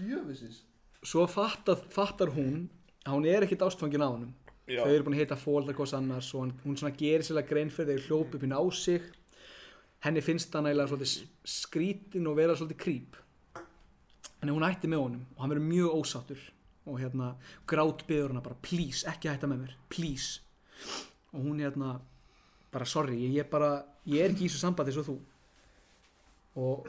S7: Jöfisins.
S2: svo fattar, fattar hún að hún er ekkert ástfangin á honum
S3: Já.
S2: þau eru búin að heita fólk hvers annars og hann, hún svona gerir sérlega grein fyrir þegar hljóp upp hinn á sig henni finnst hann eiginlega svolítið s- skrítin og vera svolítið krýp en hún ætti með honum og hann verður mjög ósáttur og hérna grát byður hana bara please, ekki hætta með mér, please og hún hérna bara sorry, ég er bara ég er ekki í þessu sambandi eins og þú og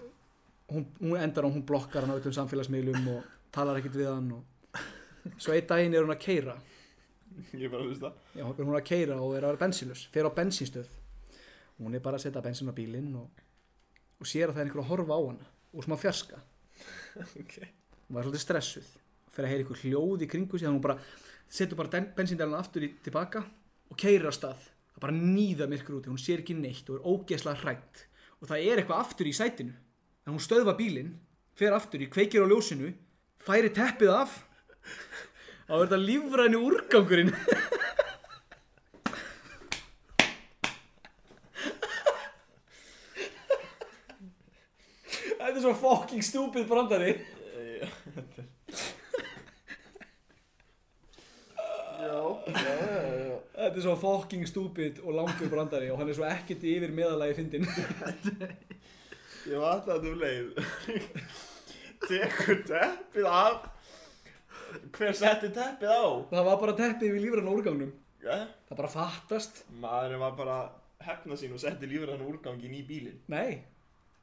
S2: hún, hún endar á, hún blokkar hann á öllum samfélagsmiðlum og talar ekkert við hann og svo einn daginn er hún að keira
S3: Ég bara finnst það
S2: Já, hún er að keira og er að vera bensinlös fer á bensinstöð hún er bara að setja bensin á bílinn og, og sér að það er einhver að horfa á hana og smá fjarska
S3: okay.
S2: hún var svolítið stressuð fer að heyra einhver hljóð í kringu sig hún bara setur bara bensindelana aftur í, tilbaka og keirir á stað það er bara nýða myrkur úti, hún sér ekki neitt og er ógeðslega hrætt og það er eitthvað aftur í sætinu en hún stöðva bílinn, fer aftur í kveikir á ljósinu færi teppið af <laughs> þá er þetta lífræni úrgangurinn Þetta er svo fucking stupid brandari
S7: Já, já, já, já.
S2: Þetta er svo fucking stupid og langur brandari og hann er svo ekkert yfir meðalagi fyndin
S3: Ég var alltaf um leið <laughs> Tekur teppið af Hver setti teppið á?
S2: <laughs> Það var bara teppið við lífrann úrgangnum
S3: Ja?
S2: Það bara fattast
S3: Maðurinn var bara að hefna sín og setti lífur hann úrgangin í bílinn
S2: Nei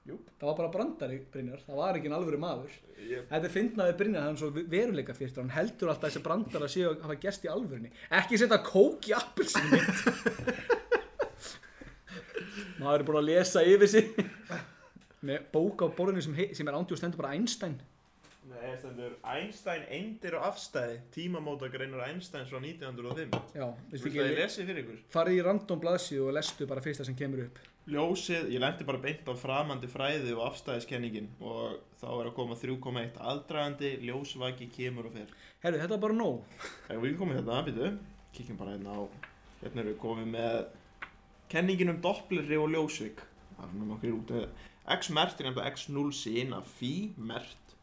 S3: Jú.
S2: Það var bara brandari Brynjar Það var ekki alvöru maður
S3: Ég
S2: Þetta er fyndnaði Brynjar hann er svo veruleika fyrst hann heldur alltaf þessi brandara séu að hafa gerst í alvörunni Ekki setja kók í appelsinu mitt <laughs> Maður er búin að lesa yfir sig Með bók á borðinu sem, hei- sem er ándi og stendur bara Einstein
S3: Nei, stendur Einstein eindir og afstæði Tímamóta greinar Einsteins frá 1905
S2: Já, veistu
S3: Viltu að ég
S2: ekki
S3: lesi fyrir ykkur?
S2: Farið í random blaðsíðu og lestu bara fyrsta sem kemur upp
S3: Ljósið, ég lendi bara beint á framandi fræði og afstæðiskenningin og þá er að koma 3,1 aðdragandi, ljósvaki kemur og fer
S2: Herru, þetta er bara nóg
S3: Þegar við komum hérna, býtu, kíkjum bara hérna á, hérna erum við komið með kenningin um doppleri og ljósvík. Það er svona nokkur út með x mert er jæmt og x0 sin af phi mert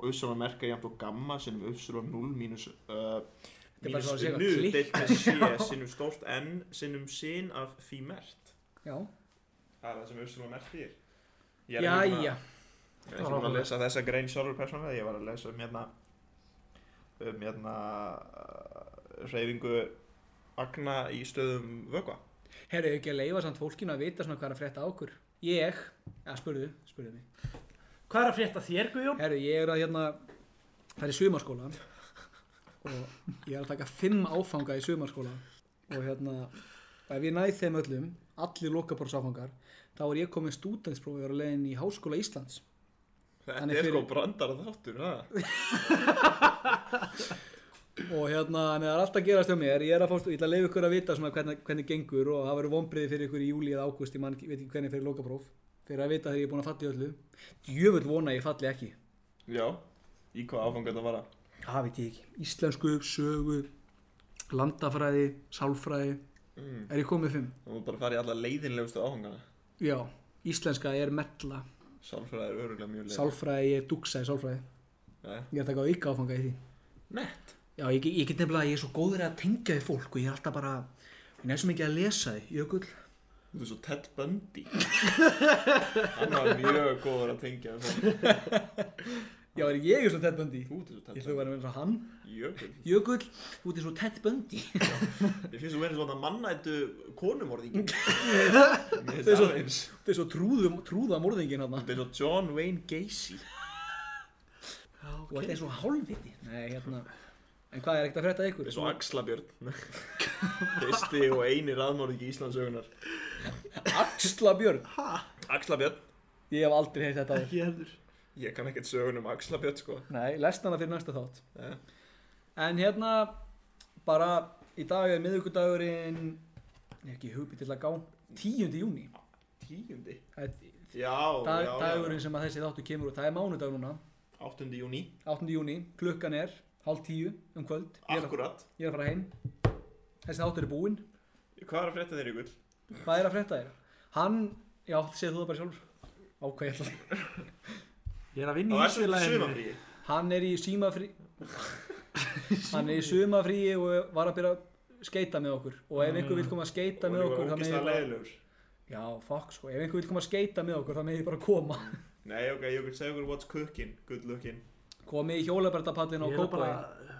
S3: og uppsala merk er jæmt og gamma sinum uppsala 0 mínus, uh,
S2: er bara svo að segja
S3: nu
S2: klikk.
S3: deilt með sé <laughs> sinum stórt n sinum sin af phi mert.
S2: Já,
S3: Það er það sem uppsala mert þýr.
S2: jæja
S3: Ég er ekki búinn að lesa þessa grein sjálfur persónulega, ég var að lesa um hérna um hérna uh, hreyfingu agna í stöðum vökva.
S2: Herru, ekki að leifa samt fólkinu að vita svona hvað er að frétta á okkur Ég, ja, spurðu, spurðu mig
S4: Hvað er að frétta þér, Guðjón?
S2: Herru, ég er að hérna Það er í sumarskóla Og ég er að taka fimm áfanga í sumarskóla Og hérna og Ef ég næð þeim öllum, allir lokaborðsáfangar Þá er ég komið stúdentsprófi á leiðin í Háskóla Íslands
S3: Þetta
S2: Hann er
S3: er sko
S2: fyrir-
S3: brandara þáttur, það?
S2: og hérna, þannig að það er allt að gerast hjá mér ég er að fórst, ég ætla að leiða ykkur að vita svona hvernig, hvernig gengur og það verður vonbriði fyrir ykkur í júli eða águst, ég man, ekki- veit ekki hvernig fyrir lokapróf fyrir að vita þegar ég er búin að falli öllu djöfull vona ég falli ekki
S3: Já, í hvað áfang þetta vara?
S2: það veit ég ekki, íslensku, sögu landafræði, sálfræði
S3: Mm.
S2: er ég komið fimm?
S3: Þú má bara fara í alla leiðinlegustu áfangana.
S2: Já, íslenska er mella
S3: Sálfræði er öruglega mjög leið.
S2: sálfræði, ég duksa í sálfræði
S3: Jæja.
S2: ég er að taka auka áfanga í því
S3: Nett.
S2: Já, ég, ég get nefnilega, ég er svo góður að tengja við fólk og ég er alltaf bara, ég er næstum ekki að lesa þið, Jökull.
S3: Þú veist svo Ted Bundy Hann var mjög góður að tengja við fólk.
S2: Já, er ég eins og Ted Bundy?
S3: Þú ert svo Ted
S2: Ég þau
S3: Bundy
S2: að vera með eins og hann
S3: Jökull
S2: Jökull, þú ert eins og Ted <laughs> Bundy
S3: Mér finnst þú verið svona mannættu
S2: <laughs>
S3: konumorðingin Mér finnst
S2: Þau svo-
S3: það eins
S2: Þú ert svo trúðum, trúða morðingin hann
S3: Þetta er svo John Wayne Gacy
S2: Þú ert eins og hálfviti Nei, hérna En hvað er ekkert að frétta af ykkur?
S3: Þetta er svo Axlabjörn <laughs> Fyrsti og eini raðmorðing í Íslandsögunar
S2: Axla Björn
S3: Axlabjörn
S2: Ég hef aldrei heyrt þetta á
S4: Ekki heldur.
S3: Ég kann ekkert sögun um Axlabjörn sko
S2: Nei, lest hana fyrir næsta þátt
S3: Já.
S2: En hérna bara í dag er miðvikudagurinn ég er ekki hugbyr til að gá 10. júni
S3: Tíundi
S2: dag,
S3: Já, já, já
S2: dagurinn sem að þessi þáttu kemur og það er mánudag núna,
S3: 8. júni
S2: 8. júni klukkan er hálf tíu um kvöld ég er, að-
S3: Akkurat
S2: ég er að fara heim þessi þáttur er búinn,
S3: Hvað er að frétta þér ykkur?
S2: hvað er að frétta þér? Hann, já, segðu þú það bara sjálfur ákveð, ég ætla að-
S4: Ég er að vinna í
S3: Það er svo
S4: Ísfélaginu.
S3: sumafríi
S2: hann er í símafrí hann er í sumafríi og var að byrja að skeita með okkur og ef einhver vil koma að skeita með okkur þá
S3: Það
S2: megið
S3: er
S2: bara-
S3: leðilegur
S2: já, fuck sko, ef einhver vil koma að skeita með okkur þá megið bara koma
S3: Nei, ok, ég vil segja ykkur what's cooking, good looking
S2: komið í hjólabærtapatin á
S4: Ég er að
S2: kópaði
S4: bara,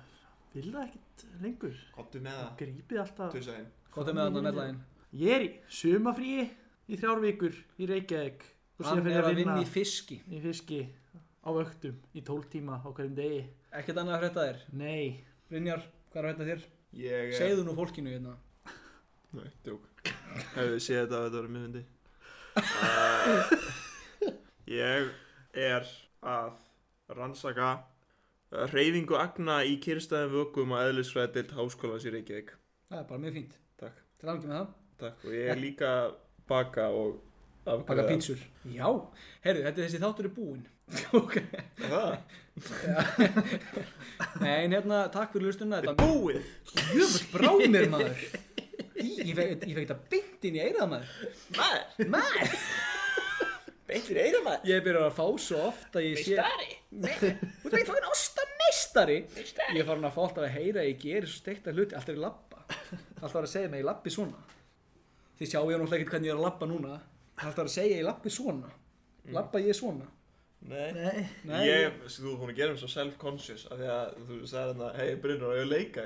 S4: vil það ekkert lengur.
S3: Kottu með það
S4: Grípið alltaf.
S3: Tusa hinn
S2: komið með hann að meðlæðin
S4: Ég er í sumafríi í þrjár vikur í Reykjavík og síðan
S2: hann
S4: fyrir
S2: er
S4: að
S2: að
S4: vinna
S2: vinna í fiski
S4: í fiski á öktum í tólf tíma á hverjum degi.
S2: ekkert annað að hrætta þér
S4: Nei,
S2: Brynjar, hvað er að hrætta þér?
S3: Ég
S2: segðu nú fólkinu hérna
S3: Nei, djók Hefur þið séð þetta að þetta voru mjög myndi Ég er að rannsaka uh, hreyfingu agna í kyrstæðum vökum og eðlisfræðild háskólans í Reykjavík
S2: það er bara mjög fínt,
S3: Takk,
S2: til að með það
S3: takk Og ég er líka að baka og
S2: baka pítsur já, herru, þetta er þessi þáttur er búinn <laughs> ok,
S3: Það,
S2: nei, en hérna, takk fyrir lustunna
S3: þetta er búið
S2: Jöfn brá mér maður Í, Ég fekk ég fekk þetta beint inn í eirað maður
S3: Maður,
S2: Maður
S3: beintir eira maður
S2: Ég byrjar að fá svo oft að ég sé Meistari Þú veit fokkin osta meistari Ég er farin að fá alltaf að heyra að Ég gerir svo steikta hluti Alltaf er ég labba Alltaf er að segja mig ég labbi svona Þið sjáu ég náttúrulega ekkert hvernig ég er að labba núna Alltaf er að segja ég labbi svona
S3: Mm.
S2: Labba ég svona
S3: Nei
S4: nei.
S2: Nei.
S3: Ég, sko, þú er búin að gera um svo self-conscious af því að þú sagði hérna, hei Brynur, ég vil leika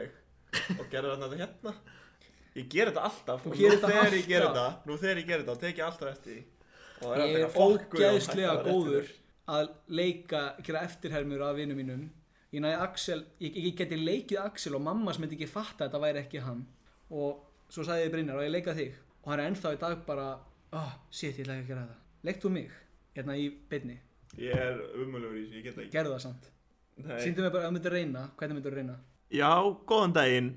S3: þig og gerði hérna þetta hérna ég ger þetta alltaf
S2: Þú
S3: og nú
S2: gerir þetta
S3: þegar ég ger
S2: alltaf.
S3: þetta nú þegar ég ger þetta, þá tek ég alltaf eftir því og það
S2: Ég
S3: alltaf
S2: er
S3: eitthvað fokk, Guðjón,
S2: ógæðslega
S3: hættu að vera eftir
S2: góður
S3: þér.
S2: að leika, gera eftirhermur af vinnum mínum ég næði Axel, ég, ég geti leikið Axel og mamma sem myndi ekki fatta að þetta væri ekki hann og svo sagði ég Brynjar og ég leika þig og hann er ennþá í dag bara oh, shit, ég ætla ekki að gera þetta leikt þú mig, hérna í byrni
S3: ég er umöluður í þessu, ég get það
S2: gerðu það samt,
S3: ekki Nei.
S2: síndu mig bara að myndi reyna hvernig myndi reyna
S3: já, góðan daginn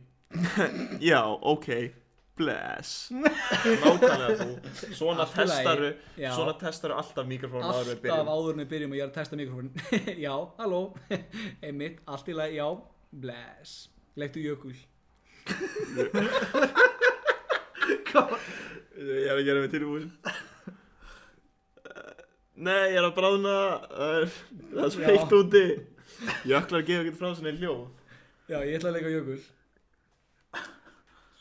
S3: <laughs> já, ok
S2: <laughs>
S3: bless nákvæmlega þú svona
S2: Allt í lagi.
S3: testaru,
S2: Já.
S3: svona testaru alltaf mikrofónu áður en við
S2: alltaf
S3: byrjum
S2: áður en við byrjum og ég er að testa mikrofónin <laughs> já, halló, einmitt, allt í lagi, já, bless leiktu jökul
S3: Ég er að gera mig tilbúin <laughs> Nei, ég er að bráðna Það er- það er svo
S2: Já.
S3: heitt úti Jöklar gefa ekkert frá sinni hljóð
S2: Já, ég ætla að leika jökul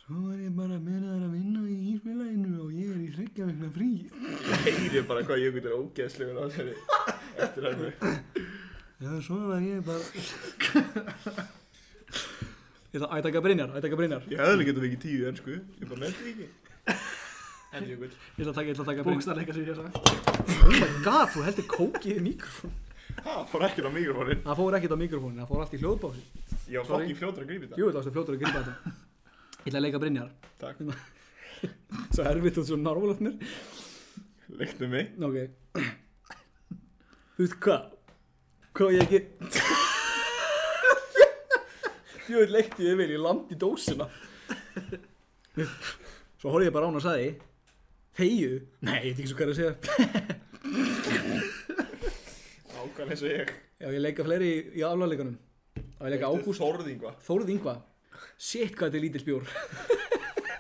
S2: Svo var ég bara byrjaður að vinna í ísfélaginu og ég er í hryggja vegna frí
S3: Ég heyri bara hvað jökul er ógeðslegur á þessari Eftir hann
S2: Já, svo var ég bara Ég ætla að taka Brynjar, að taka Brynjar
S3: Ég hefði getum ekki tíu enn sko Ég bara nefndi því ekki En jökul
S2: Ég ætla að taka, ég ætla að taka Brynjar
S4: bókstarleika sem ég hef sagt.
S2: Oh my god, þú heldur kókið í mikrofón
S3: Það fór ekkert á mikrofónin
S2: Það fór ekkert á mikrofónin, það fór allt í hljóðbási
S3: Ég var
S2: Sorry.
S3: fokkin fljótur að grípa þetta
S2: Jú, það varstu fljótur að grípa þetta Ég ætla að leika Brynjar
S3: Takk,
S2: <laughs> Svo erfitt og svo narvulegt mér
S3: leiktu mig
S2: Ok Þú veist hvað Hvað á ég ekki Ég veit leikti ég vel Ég landi í dósina Svo horfði ég bara á hann og sagði Þegju Nei, ég veit ekki svo hvað er að segja
S3: Ákvæmlega eins og ég
S2: Já, ég leika fleiri í, í aflanleikunum Það ég leika Ágúst
S3: Þorðingva
S2: Þórð Ingva Shit, hvað þetta er lítill bjór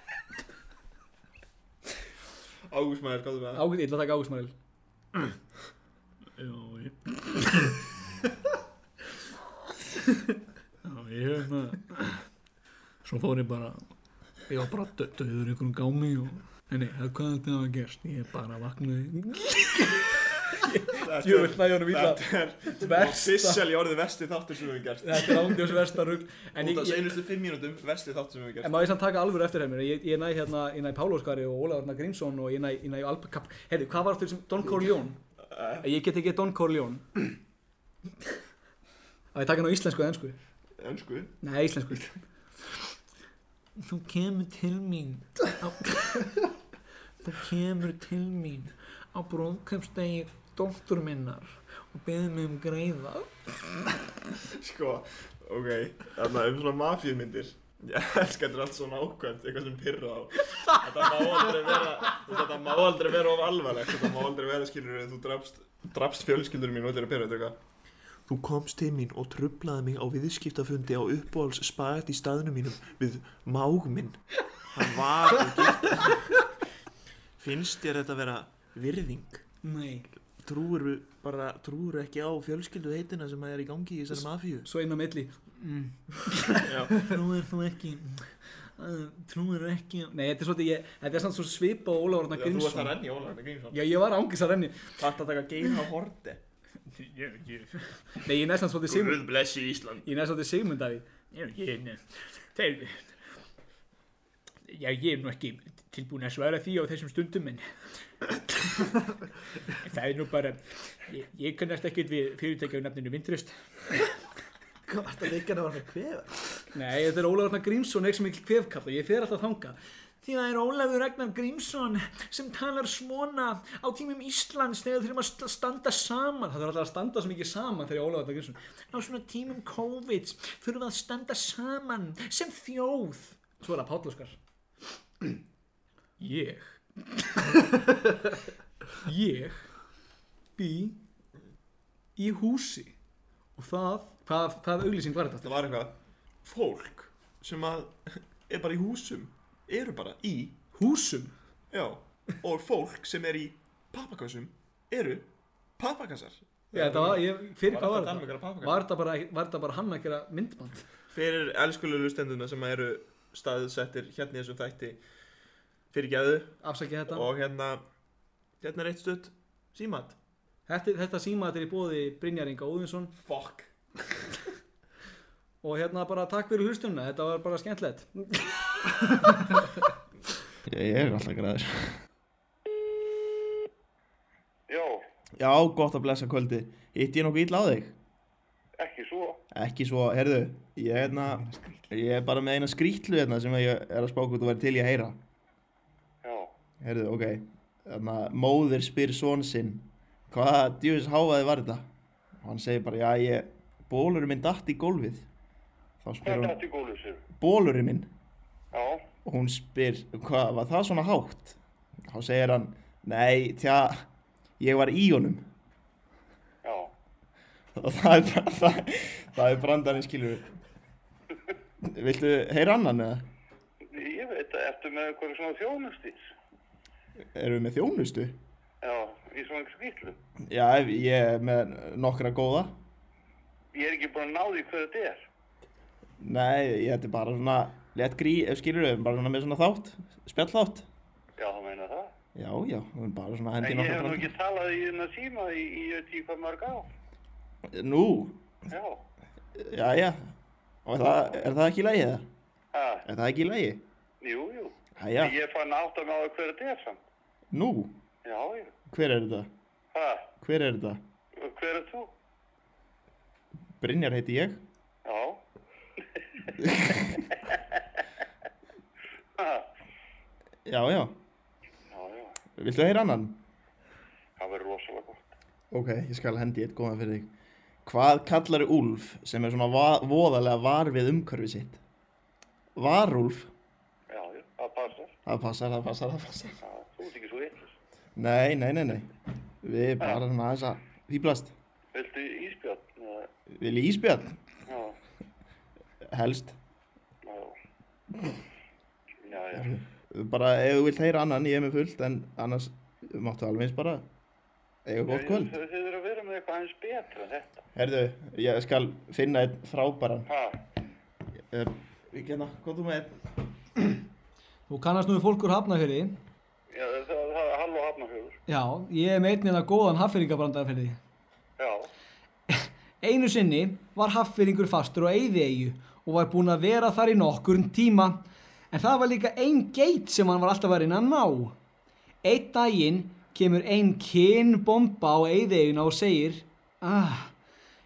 S3: Ágúst maður, gáttu með það
S2: Ágúst, ég ætla að taka Ágúst Maril
S4: Já, ég... Já, ég hérna... Svo fór ég bara... Ég var bara döður einhverjum gámi og...
S2: Nei, nei, það- hvað þetta hafa gerst? Ég er bara vaknaði. Jú, við hlæði honum illa.
S3: Þetta er
S2: Versta.
S3: officially orðið vesti þáttur sem við höfum gert
S2: Þetta er ándjós vestarugl. En
S3: Út
S2: ég,
S3: af
S2: ég,
S3: seinustu fimm mínútum vesti þáttur sem við höfum
S2: en
S3: gert
S2: má ég samt taka alvöru eftir hefnir? Ég, ég næ hérna, ég næ Pálo Skari og Ólafur Arnar Grímsson og ég næ, ég næ Alba Kapp. Heyrðu, hvað var þau sem Don Corleone? Ég get ekki Don Corleone. Það ég taka hann á íslensku eða ennsku.
S3: En sko
S2: Nei, íslensku. Þú kemur til mín. Á, þú kemur til mín á bróðkjöpsdegi dóttur minnar og beðið mig um greiða.
S3: <laughs> Sko, ok, þarna um svona mafíumyndir <laughs> Ég elska þetta er allt svona ákvæmt, eitthvað sem pyrra á Þetta má aldrei vera, þú veist, þetta má aldrei vera of alvarlegt Þetta má aldrei vera skilur en þú drafst, drafst fjölskyldur mín og þetta er að pyrra þetta eitthvað Þú komst til mín og trublaði mig á viðskiptafundi á uppbóls spagat í staðnum mínum við mág minn Hann var og gitt Finnst þér þetta vera virðing?
S2: Nei.
S3: Trúur bara, trúur ekki á fjölskyldu heitina sem að er í gangi í þessari mafíu?
S2: Svo inn á milli. Trúir þú ekki, trúir ekki. Nei, þetta er svolítið, ég, þetta er samt svo svipa á Ólafur Arnar
S3: Já, þú varst að
S2: Grímsson.
S3: renni, Ólaðan Grímsson
S2: Já, ég var ángis að renni.
S3: Takk að taka Geir á horti
S2: Nei, ég næst hann svolítið Sigmund.
S3: blessi Ísland
S2: Ég næst svolítið Sigmund af því.
S8: Já, ég er nú- þeir, já, ég er nú ekki tilbúin að svara því á þessum stundum
S2: <laughs>
S8: en það er nú bara ég, ég kannast ekkert við fyrirtækja á nafninu Vindröst
S7: Hvað þetta leikana var með kveða?
S2: Nei, þetta er Ólafur Ragnar Grímsson, ekki sem mikil kvefkall og ég fer alltaf þanga. Því það er Ólafur Ragnar Grímsson sem talar svona á tímum Íslands þegar þurfum að st- standa saman. Það þarf alltaf að standa svo mikið saman þegar Ólafur Ragnar Grímsson. Á svona tímum COVID þurfum við að standa saman sem þjóð. Svo er það Páll Óskar.
S8: ég ég
S2: Bý í húsi og það, hvað, hvað auglýsing var þetta?
S3: Það var eitthvað Fólk sem að <laughs> er bara í húsum eru bara í
S2: Húsum.
S3: Já Og fólk sem er í pappakassum eru pappakassar
S2: Já, þetta var, ég, fyrir hvað var þetta?
S3: Danmörk að pappakassar
S2: Var þetta bara, var þetta bara hann að gera myndband?
S3: Fyrir elskulegu stenduna sem eru staðsettir hérna í þessum þætti fyrir geðu
S2: Afsakið þetta.
S3: og hérna hérna er eitt stutt símat
S2: Þetta, þetta síma þetta er í bóði Brynjar Inga Óðinsson
S3: Fuck
S2: og hérna bara takk fyrir hlustunna, þetta var bara skemmtilegt.
S3: Ég er alltaf græður
S9: Já,
S3: Já, gott að blessa kvöldi Hitti ég nokkuð illa á þig?
S9: ekki svo.
S3: Ekki svo, heyrðu, ég, hérna, ég er bara með eina skrítlu hérna sem ég er að spá hvað þú væri til í að heyra.
S9: Já,
S3: Heyrðu, ok, þarna, móðir spyr són sinn, hvaða djúðis háfaði var þetta? Og hann segir bara, já, ég, bólurinn minn datt í gólfið. Þá spyr
S9: það er
S3: hún,
S9: þetta í gólu sér.
S3: bólurinn minn?
S9: Já,
S3: Og hún spyr, hvað, var það svona hátt? Þá segir hann, nei, tja, ég var í honum. <laughs>
S9: já.
S3: Og það er, bara- það, það er brandarinn, skilur Viltu heyra annan eða?
S9: Ég veit að ertu með eitthvað svona þjónustís.
S3: Erum við með þjónustu?
S9: Já, í svona skýtlu.
S3: Já, ef- ég er með nokkra góða.
S9: Ég er ekki búin að ná því hvað þetta er.
S3: Nei, ég þetta er bara svona lett grí, ef skilur við, bara svona með svona þátt, spjall þátt.
S9: Já, það meina það.
S3: Já, já, við erum bara svona
S9: En
S3: hendi
S9: ég
S3: nokkra
S9: hef nú
S3: brandi.
S9: ekki talað í þennan síma í, í ég veit ekki hvað mörg á.
S3: Nú,
S9: Já,
S3: já, já, og er það, er það ekki í lagi það?
S9: ha,
S3: Er það ekki í lagi?
S9: jú, jú.
S3: Jæja,
S9: Ég er fann að átta mig á því hvað þetta er samt.
S3: nú,
S9: Já, já.
S3: hver er þetta?
S9: Ha,
S3: Hver er þetta?
S9: hver er þú?
S3: Brynjar heiti ég.
S9: Já. ha,
S3: Já, já,
S9: já, já.
S3: viltu heyra annan?
S9: Það verður rosalega gott.
S3: Ok, ég skal hendi eitt góðan fyrir þig. Hvað kallar Úlf sem er svona va voðalega var við umhverfi sitt? Varúlf?
S9: Já, já, það passar.
S3: Það passar, það passar, það passar.
S9: Já, þú ert ekki svo eitthvað.
S3: Nei, nei, nei, nei. Við erum bara svona aðeins að fýblast.
S9: Viltu íspjörn? eða-
S3: Vil ég íspjall?
S9: Já,
S3: Helst.
S9: já. Já, já.
S3: Bara ef þú vilt heyra annan, ég er með fullt, en annars máttu alveg eins bara eiga gott kvöld.
S9: Þið þurfum að vera með eitthvað aðeins betra en þetta.
S3: Herðu, ég skal finna einn frábæran.
S9: Ha,
S3: Eh, Við genna, hvað þú með einn?
S2: Þú kannast nú við fólk úr Hafnafjörði
S9: Já, það, það er hall og hafnafjörður.
S2: Já, ég er með einnig að góðan haffyrringabrandara fyrir því.
S9: Já,
S2: Einu sinni var haffyrringur fastur á Eyðieyju og var búinn að vera þar í nokkurn tíma en það var líka ein geit sem hann var alltaf að reyna að ná. Eitt daginn kemur ein kynbomba á Eyðieyjuna og segir Ah,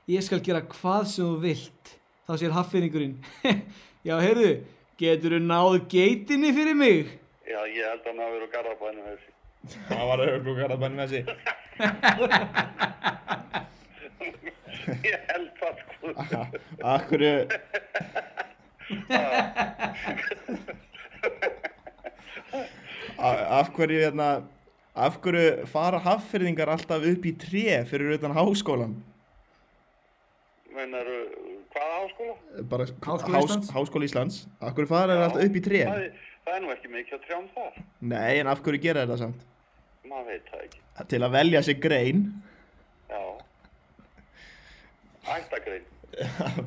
S2: ég skal gera hvað sem þú vilt. Þá sér haffyrringurinn <laughs> Já, heyrðu, getur þú náð geitinni fyrir mig?
S9: já, ég held að hann hafi verið á garðabænum þessi. <laughs>
S10: Það var hérna, auðvitað að banna með þessi.
S9: Ég held það,
S3: <laughs>
S9: sko.
S3: Akkur Af hverju hérna Af hverju fara haffyrðingar alltaf upp í tré fyrir utan háskólan?
S9: Meinar, uh, hvaða háskóla?
S3: Bara,
S2: Háskóla Íslands?
S3: Háskóla Íslands. Af hverju fara þeir alltaf upp í tré?
S9: Það, er- það er nú ekki mikið að trjám þar.
S3: Nei, en af hverju gera þeir það samt?
S9: Maður veit það ekki.
S3: Til að velja sér grein <laughs>
S9: Já. Ættagrein.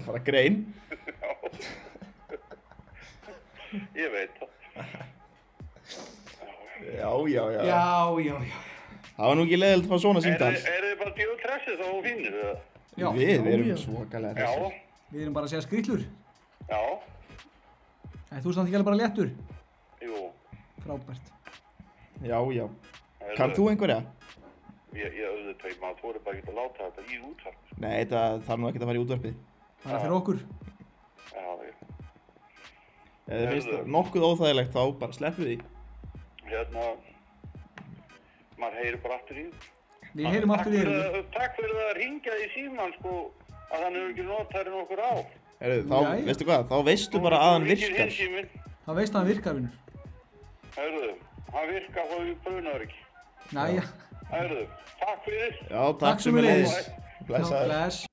S3: Bara grein
S9: <laughs> Ég veit það.
S3: Já, já, já,
S2: Já, já, já.
S3: Það var nú ekki leiðilegt að fá svona
S9: Er,
S3: síndal
S9: er þið bara djöðu tressið þá hún finnir það?
S2: Já,
S3: Við erum
S11: já.
S3: svakalega
S9: Já,
S3: hressir.
S2: Við erum bara að segja skrýtlur.
S9: já,
S2: En þú ert samt ekki alveg bara léttur.
S9: jú.
S2: Frábært.
S3: Já, já Kann þú einhverja?
S9: Ég, ég auðvitað, ég maður þóri bara ekki að láta þetta í útvarp. sko.
S3: Nei, þetta þarf nú ekkert að fara í útvarpið
S2: Bara fyrir okkur.
S9: Já, já.
S3: Ef þið finnst
S9: Herðu.
S3: nokkuð óþægilegt þá bara sleppið því
S9: Hérna, maður heyrir bara aftur í. því.
S2: Við heyrum aftur í
S9: Takk
S2: þér.
S9: fyrir að- Takk fyrir að ringja í síman, sko, að hann hefur ekki notað hérna okkur á.
S3: Herru, þá,
S2: Jæja.
S3: veistu hvað, þá veistu bara að hann virkar
S9: Hringir hinn síminn.
S2: Það veist að hann virkar, vinnur.
S9: Herðu, hann virkar þá við brunar ekki.
S2: Næja.
S9: Herðu, takk fyrir.
S3: Já, takk,
S2: Takk
S3: takk sem við leiðis
S2: sömuleiðis. Bless.